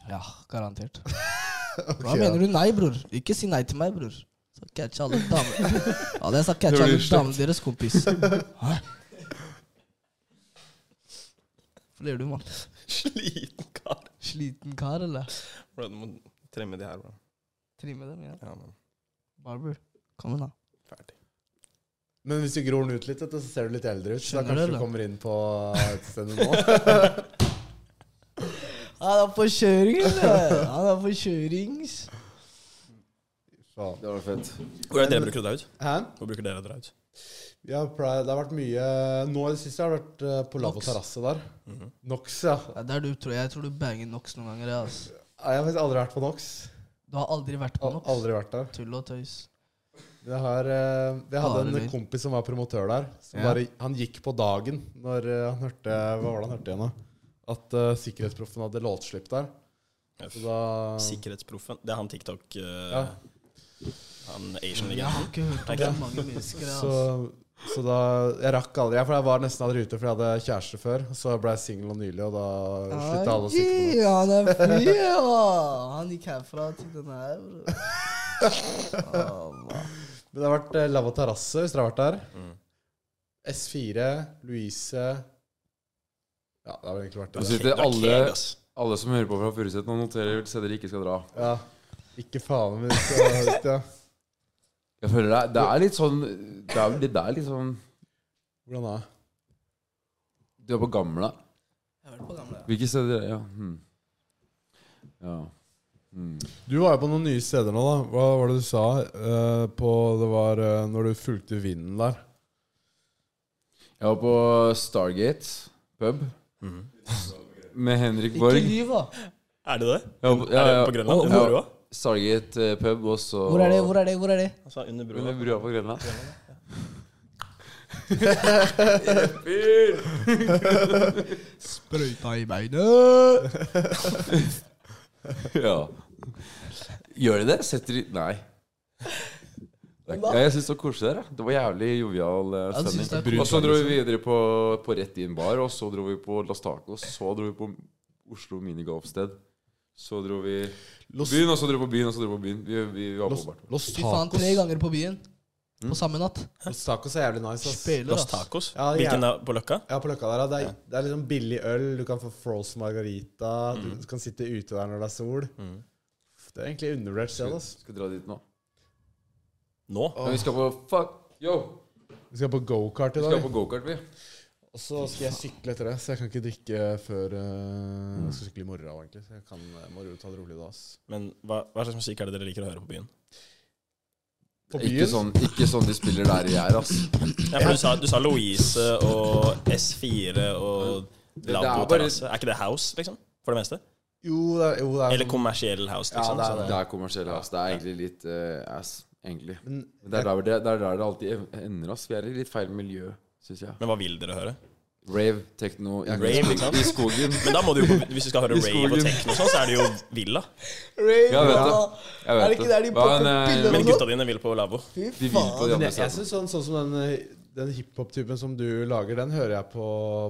Ja, garantert. Hva
Ok, ja.
mener du nei, bror? Ikke si nei til meg, bror. Så catcher alle damene Ja, det sa catcher
Det
alle
blir slekt.
damene deres, kompis. Hæ? Fler du, mann?
Sliten kar.
Sliten kar, eller?
Bro, du må tremme de her, bro.
Trimme dem, ja.
Ja, men
Barber, kom igjen, da.
ferdig.
Men hvis du gror den ut litt, vet du, så ser du litt eldre ut. Så da
Skjønner
kanskje
du,
du
eller?
kommer inn på utestedet nå.
Han er på kjøring, eller? Han er på kjørings.
Faen.
Det var fett.
Hvor er det dere bruker å dra ut?
Hæ?
Hvor bruker dere å dra ut?
Ja, Pride, det har vært mye Nå i det siste har det vært eh, på Lav og
Nox. Mhm.
terrasse der. Nox, ja.
Ja, der du tror jeg tror du banger Nox noen ganger. ja, ass.
Jeg har faktisk aldri vært på Nox.
Du har aldri vært på
Al-
Nox?
Aldri vært der.
Tull og tøys.
Jeg, har, eh, jeg
Bare
hadde en
løgn.
kompis som var promotør der. Som
Ja.
bare, han gikk på dagen når eh, han hørte Hva var det han hørte igjen, da? At eh, sikkerhetsproffen hadde låtslipp der. Så da
Sikkerhetsproffen. Det er han TikTok eh,
ja,
Han Asian-legenden.
Jeg har ikke hørt om så mange mennesker. ja,
så, så da Jeg rakk aldri. Jeg, for jeg var nesten aldri ute, for jeg hadde kjæreste før. Så ble jeg singel og nylig, og da slutta alle å
ass.
sikte på meg.
Ja, han er fri, ja! Han gikk herfra til den her. bro. Å, man.
Men det har vært eh, Lav og terrasse, hvis dere har vært der.
Mm.
S4, Louise Ja, det har vel egentlig vært
Og
det.
så sitter
Dra
alle,
keg, ass.
alle som hører på fra Furuset og noterer hvilke steder de ikke skal dra.
Ja. Ikke faen, men hvis det var ut, ja.
Jeg føler det, er- det er litt sånn Det er, det er litt sånn
Hvordan da?
Du er på gamla.
Jeg har vært på gamle.
Hvilke steder Ja. Hmm. ja. Hmm.
Du var jo på noen nye steder nå, da. Hva var det du sa? eh, på, det var eh, når du fulgte vinden der.
Jeg var på Stargate pub
Mhm.
med Henrik
Ikke
Borg.
lyv, da.
Er det det?
Jeg var på-
Er
ja,
det
ja.
på Grønland? Under
Ja.
brua?
Stargate eh, pub, og så
Hvor er det? Hvor er det? Hvor er det?
Altså, under brua.
Under brua på Grønland.
Sprøyta i beinet.
ja. Gjør de det? Setter de Nei. Det er ikke- Jeg syns det var koselig der. da. Det var jævlig jovial eh,
Han synes det er
stemning. Og så dro vi videre på, på Rett Inn Bar, og så dro vi på Las Tacos, så dro vi på Oslo Minigolfsted. Så dro vi
Los,
byen, og så dro vi på byen, og så dro vi på byen. Vi, vi, vi var på
Los,
Barton.
Los
Fy faen, tre
Tacos.
ganger på byen.
Mm.
på samme natt.
Los Tacos er jævlig nice. ass.
Spiller,
Los
ass.
Tacos?
Ja, ja.
Hvilken er på Løkka?
Ja, på Løkka der, ja. det, er, det er liksom billig øl, du kan få frozen margarita,
Mm.
du kan sitte ute der når det er sol. Det er egentlig undervurdert sted.
Skal,
ass.
skal dra dit nå.
Nå?
Men vi skal på Fuck yo!
Vi skal på gokart
Vi
i
skal
dag.
på gokart, vi.
Og så skal jeg sykle etter det, så jeg kan ikke drikke før eh, Jeg skal sykle i morgen også, egentlig. Så jeg kan, jeg må ta det rolig da. ass.
Men hva, hva slags musikk er det dere liker å høre på byen?
På
Ikke
byen?
sånn, ikke sånn de spiller der jeg er, ass.
Ja, for du sa, du sa Louise og S4 og
det er
Lambo
bare-
Terrasse. Er ikke det house, liksom? For det meste?
Jo, det er, jo, det er
sånn-
Eller kommersiell house, liksom?
det er
sånn.
Det er kommersiell ass. Det er egentlig litt eh, ass, egentlig.
Men
Men det er der det, det, er der det alltid ender, ass. Vi er i litt feil miljø, syns jeg.
Men hva vil dere høre?
Rave, techno i,
Rave, ikke sant?
i skogen.
Men da må du jo, på- hvis du skal høre
I
rave og
skogen.
techno og sånn, så er det jo villa.
Rave,
Jeg vet det.
da.
Jeg vet
Er det ikke der de
Hva er en,
pakker
eh,
piller og
Men
sånn?
gutta dine vil på lavvo.
Fy
De vil på altså.
faen.
de andre
Men jeg, jeg
stedene.
synes sånn, sånn som den, eh, den hiphop-typen som du lager, den hører jeg på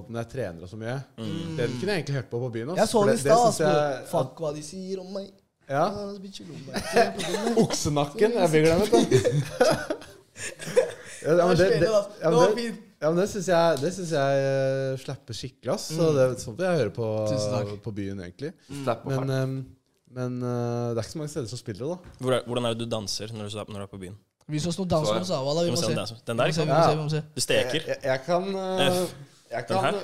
når jeg trener og så mye. Den kunne jeg egentlig hørt på på byen. ass.
Jeg så
For
det i stad.
synes
ass, men
jeg-
Fuck hva de sier om meg.
Ja.
Ah, det blir chill om meg. Det er problemet.
Oksenakken. Jeg blir glemt, da. Ja, men det, det, ja,
Det var
men det,
fint.
ja, men det syns jeg, det synes jeg eh, slapper skikkelig, ass.
Mm.
Så det er sånt jeg hører på,
Tusen takk.
på byen, egentlig.
Slapp av.
Men, ehm, men eh, det er ikke så mange steder som spiller det, da.
Hvor er- Hvordan er det du danser når du, når du er på byen?
Vis oss noen danser om Sava, da.
Du
Vi
må
må
se
se.
den, der, den der,
Vi må
ikke
se,
sant?
vi må se, vi må se.
Du steker.
Jeg, jeg kan eh, Jeg
Den
kan
her?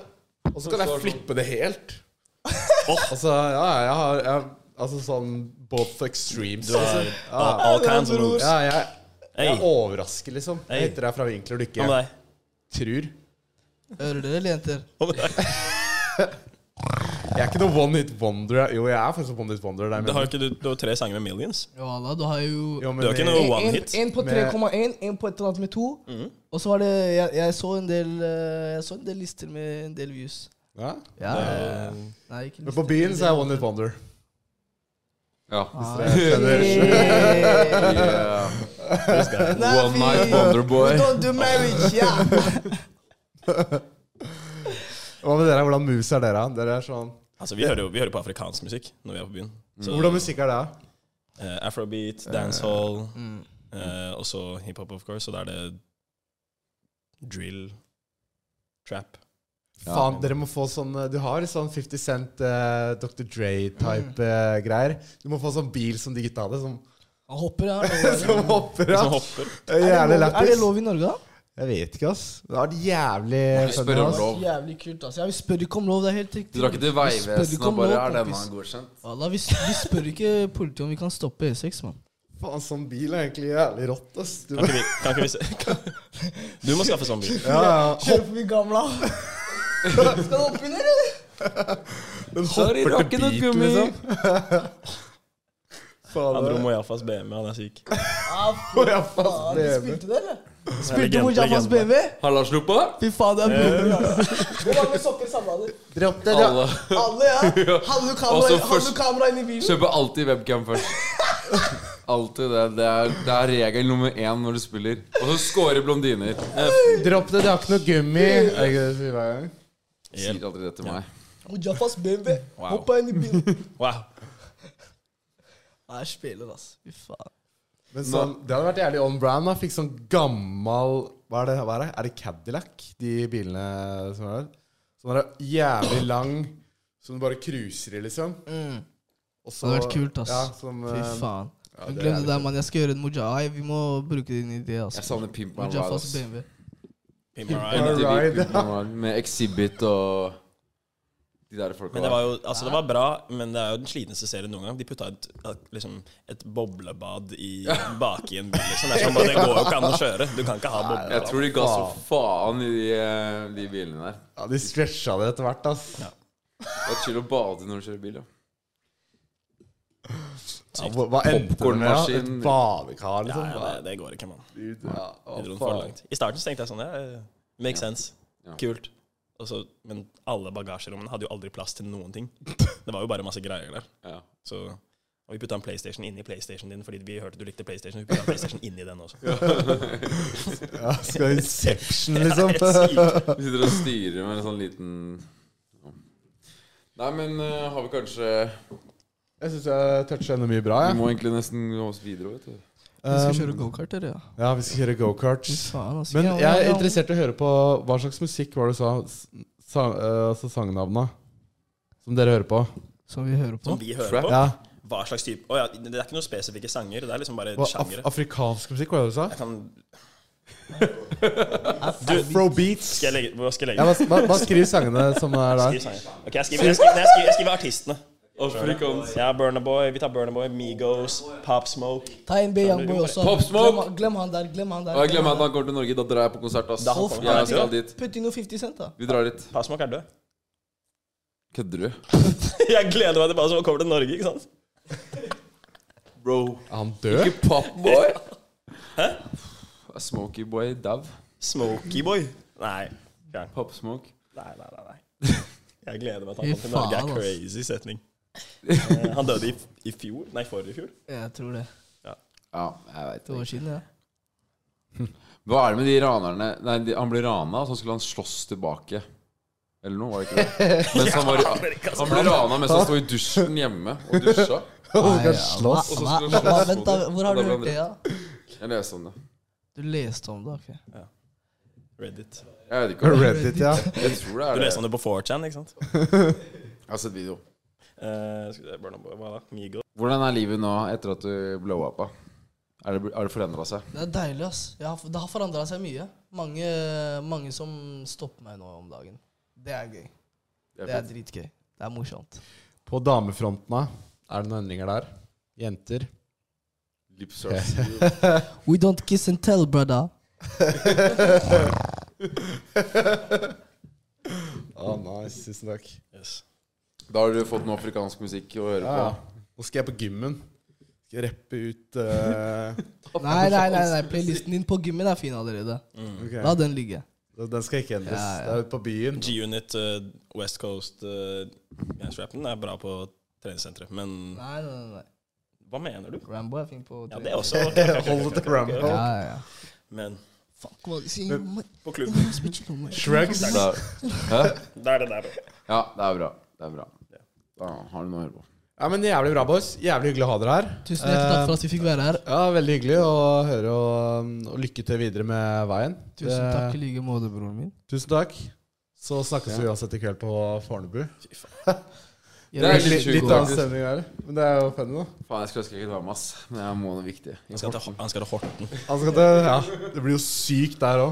Og så kan jeg flippe det helt.
Åh.
Altså, ja, jeg har jeg, Altså sånn both extremes.
Du har
altså.
all, all kinds of moves.
Ja, jeg, jeg
Hey,
overrasker, liksom.
Hey.
Jeg hitter deg fra vinkler du
hva
ikke
med deg?
tror.
Hører dere, eller jenter?
Hva med deg?
Jeg er ikke noe one hit wonder. Jo, jeg er faktisk one hit wonder. Der,
Du har jo ikke du, du har tre sanger med millions.
Ja da, du har jo
jo, men
Du har ikke
med-
noe
En-
one
en-
hit.
En på
Med-
3,1, en på et eller annet med to. Og så var det jeg, jeg, så en del, eh, jeg så en del lister med en del views.
ja.
Ja, ja, ja. Nei, ikke
Men på byen så er jeg one hit wonder.
Ja.
Ah, Hey.
Yeah.
Nei,
One
fy-
night wonderboy.
We Don't do marriage, ja!
Hva med dere? Hvordan moves er dere? Dere er sånn
Altså, vi hører jo vi hører på afrikansk musikk når vi er på byen. Så,
Hvordan musikk er det? da?
eh, afrobeat, dancehall,
Mm.
eh, og så hiphop, of course. Og da er det drill, trap.
Faen, dere må få sånn eh, Du har sånn 50 Cent, eh, Dr. Dre-type eh, greier. Du må få sånn bil som de gutta hadde, som,
Han hopper, ja.
som hopper
Som
av.
hopper.
Er det
Jævlig
lov- er det
lættis.
lov i Norge, da?
Jeg vet ikke, ass. Det har vært jævlig
spør
funny,
om
ass.
lov.
Jævlig kult, altså. Ja, vi spør ikke om lov, det er helt riktig.
Du drar ikke til
Vi spør
Vegvesenet
ikke om
og bare
lov,
Er denne
kompis.
godkjent?
Wallah, vi, s- vi spør ikke politiet om vi kan stoppe E6, mann.
Faen, sånn bil er egentlig jævlig rått, ass. Du,
Kan ikke vi, kan ikke vi se Du må skaffe sånn bil.
ja, ja.
Kjør forbi gamla. Skal du hoppe under, eller?
Den hopper til beat, liksom.
Han
Faen,
dro
det
Mojafas BMW, han er syk.
Ah,
Å, ja, faen,
faen, du
BMW.
spilte det, eller?
Legende,
Spilte du Mojafas
legende.
BMW?
Halla, sluppa!
Fy faen, det er broren, altså. Hvor mange sokker samla du?
Dropp det, dropp
Alle.
Alle, ja. Hadde du kamera,
Altså,
hadde
først-
du kamera inn i bilen?
Kjøper alltid webcam først. Alltid det. Det er, det er regel nummer én når du spiller. Og så scorer blondiner.
Dropp det, det har ikke noe gummi. Er ikke det vi var i gang?
Sier aldri det til meg.
Mojafas BMW.
Wow.
Hoppa inn i bilen.
Wow.
Nei, jeg spiller, altså. Fy faen.
Men sånn, det hadde vært jævlig on brand. da Fikk sånn gammal Hva er det? Hva er, det? er det Cadillac, de bilene som er der? Sånn er det jævlig lang, som du bare cruiser i, liksom.
Mm.
Og så-
Det hadde vært kult, ass.
Ja, som,
Fy
eh,
faen.
det er
Glem det
jævlig
der, mann. Jeg skal gjøre en moja. Nei, Vi må bruke din idé,
Jeg
altså.
savner Pimp My Ride.
Mojafas
ass.
BMW.
Pimp my
My
ride.
Ride,
Pimp My Ride Med Exhibit og de der folka
Men det var
der.
jo Altså, det var bra, men det er jo den slitneste serien noen gang. De putta et, et- liksom, et boblebad i baki en bil, liksom. Det, er sånn, bare, det går jo ikke an å kjøre. Du kan ikke ha
Jeg
boblebad.
tror de ga så faen i de, eh, de bilene der.
Ja, de stretcha det etter hvert, ass.
Det er chill å bade når du kjører bil, ja.
Ja, hva hva endte det med? da? Et
Popcornmaskin.
badekar,
Ja,
sånn
liksom?
ja, det, det går ikke, mann.
Gud, ja.
Vi dro den for langt. I starten så tenkte jeg sånn ja, eh, Makes sense.
Ja.
Kult. Og så, men alle bagasjerommene hadde jo aldri plass til noen ting. Det var jo bare masse greier der.
ja.
Så, og vi putta en PlayStation inni PlayStationen din fordi vi hørte du likte PlayStation. Vi putta en PlayStation inni den også.
ja, skal Inception, liksom?
Det er sykt.
Vi sitter og styrer med en sånn liten Ja. Nei, men eh, har vi kanskje
Jeg syns jeg toucha enda mye bra,
Vi
jeg.
må egentlig nesten gå oss videre, vet du.
Vi skal
Um,
kjøre gokart, dere, ja.
Ja, vi skal kjøre
Fy
gokarts.
faen, altså.
Men
Ja,
jeg
ja,
er
ja.
interessert i å høre på hva slags musikk var det du sa? S- Sang, eh, altså sangnavna som dere hører på?
Som vi hører på.
Som vi hører
Trap.
på?
Ja,
Hva slags type Å ja, det er ikke noen spesifikke sanger. Det er liksom bare
hva, af
sjangere.
Afrikansk musikk, var det du sa?
Jeg kan
Afrobeats.
Skal jeg legge Hva skal jeg
Ja,
legge?
hva, hva, hva skriver sangene som er der?
Skriv sanger. Ok, jeg skriver, jeg skriver, nei, jeg skriver, jeg skriver artistene. Ja, Burna Boy. Vi tar Burna Boy, Migos, Pop Smoke.
Ta en B Youngboy også.
Pop Smoke!
Glem, glem han der, glem han der.
Og jeg glemmer at han kommer til Norge. Da drar jeg på konsert, ass.
Da han kommer.
Jeg skal dit.
Putt inn noe 50 Cent, da.
Vi drar dit.
Pop Smoke er død.
Kødder du?
Jeg gleder meg til Pop Smoke kommer til Norge, ikke sant?
Bro.
Er han død?
Popboy? Hæ? Smoky boy dau.
Smokey Boy. Nei. Nei,
Pop smoke.
nei, nei. nei. Jeg gleder meg til han kommer til Norge. Det
Fy faen,
er crazy setning. Eh, Han døde i, i fjor. Nei, forrige fjor.
Jeg tror det.
Ja, jeg veit
To år siden, ja.
Hva er det med de ranerne Nei, de, han ble rana, og så skulle han slåss tilbake. Eller noe, var det ikke det? Mens han, var, han ble rana mens han sto i dusjen hjemme og dusja.
Han
Nei,
kan slåss.
Og så
Hva,
skulle
hva,
han
hva,
slåss
vent,
mot
da.
dem.
Hvor har
Og
du
da ble
hørt det? ja?
han drept. Jeg leste om det.
Du leste om det, ok.
Reddit.
Jeg vet ikke. om det-
Reddit, ja.
Jeg tror det
Du
er
leste
det.
om det på 4chan, ikke sant?
Jeg har sett video.
Eh, skal vi se, Burna Boy, hva da? Migos.
Hvordan er livet nå etter at du blow up? Har det, har det forandra seg?
Det er deilig, ass. Jeg har, det har forandra seg mye. Mange, mange som stopper meg nå om dagen. Det er gøy. Det er dritgøy. Det er morsomt.
På damefronten, da? Er det noen endringer der? Jenter?
Lip service.
We don't kiss and tell, brother.
Å, Ah, nice. Tusen takk.
Yes.
Da har du fått noe afrikansk musikk å høre
Ja, ja.
på.
Nå skal jeg på gymmen. Skal jeg rappe ut eh,
Nei, nei, nei, nei. playlisten din på gymmen er fin allerede.
ok.
La den ligge.
Den skal ikke endres.
Ja, ja.
Det er ute på byen.
G-Unit, eh, West Coast uh, Rappen er bra på treningssenteret, men
Nei, nei, nei. nei.
hva mener du?
Rambo er fin på
Ja, det er også ok, ok, ok, ok,
Hold
ok,
it
ok.
to Rambo.
Ja, ja, ja.
Men
Fuck, hva sier man?
på klubben,
Shrugs.
Da- Hæ?
der er det der.
Ja, det er bra. Det er bra. Da har du noe å høre på.
Ja, men Jævlig bra, boys. Jævlig hyggelig å ha dere her. Eh,
Tusen hjertelig takk for at vi fikk være her.
Ja, Veldig hyggelig å høre, og, um, og lykke til videre med veien.
Tusen
Eh,
takk i like måte, broren min.
Tusen takk. Så snakkes vi uansett i kveld på Fornebu.
Jeg
Det er
vil-
litt
Litt,
sjukt,
litt annen
faktisk.
stemning her, men det er jo funny, da.
Faen, jeg skulle ønske jeg kunne være med, ass. Men jeg må noe viktig.
Han skal til, han skal til Horten.
Altså, det, ja, det blir jo sykt der òg.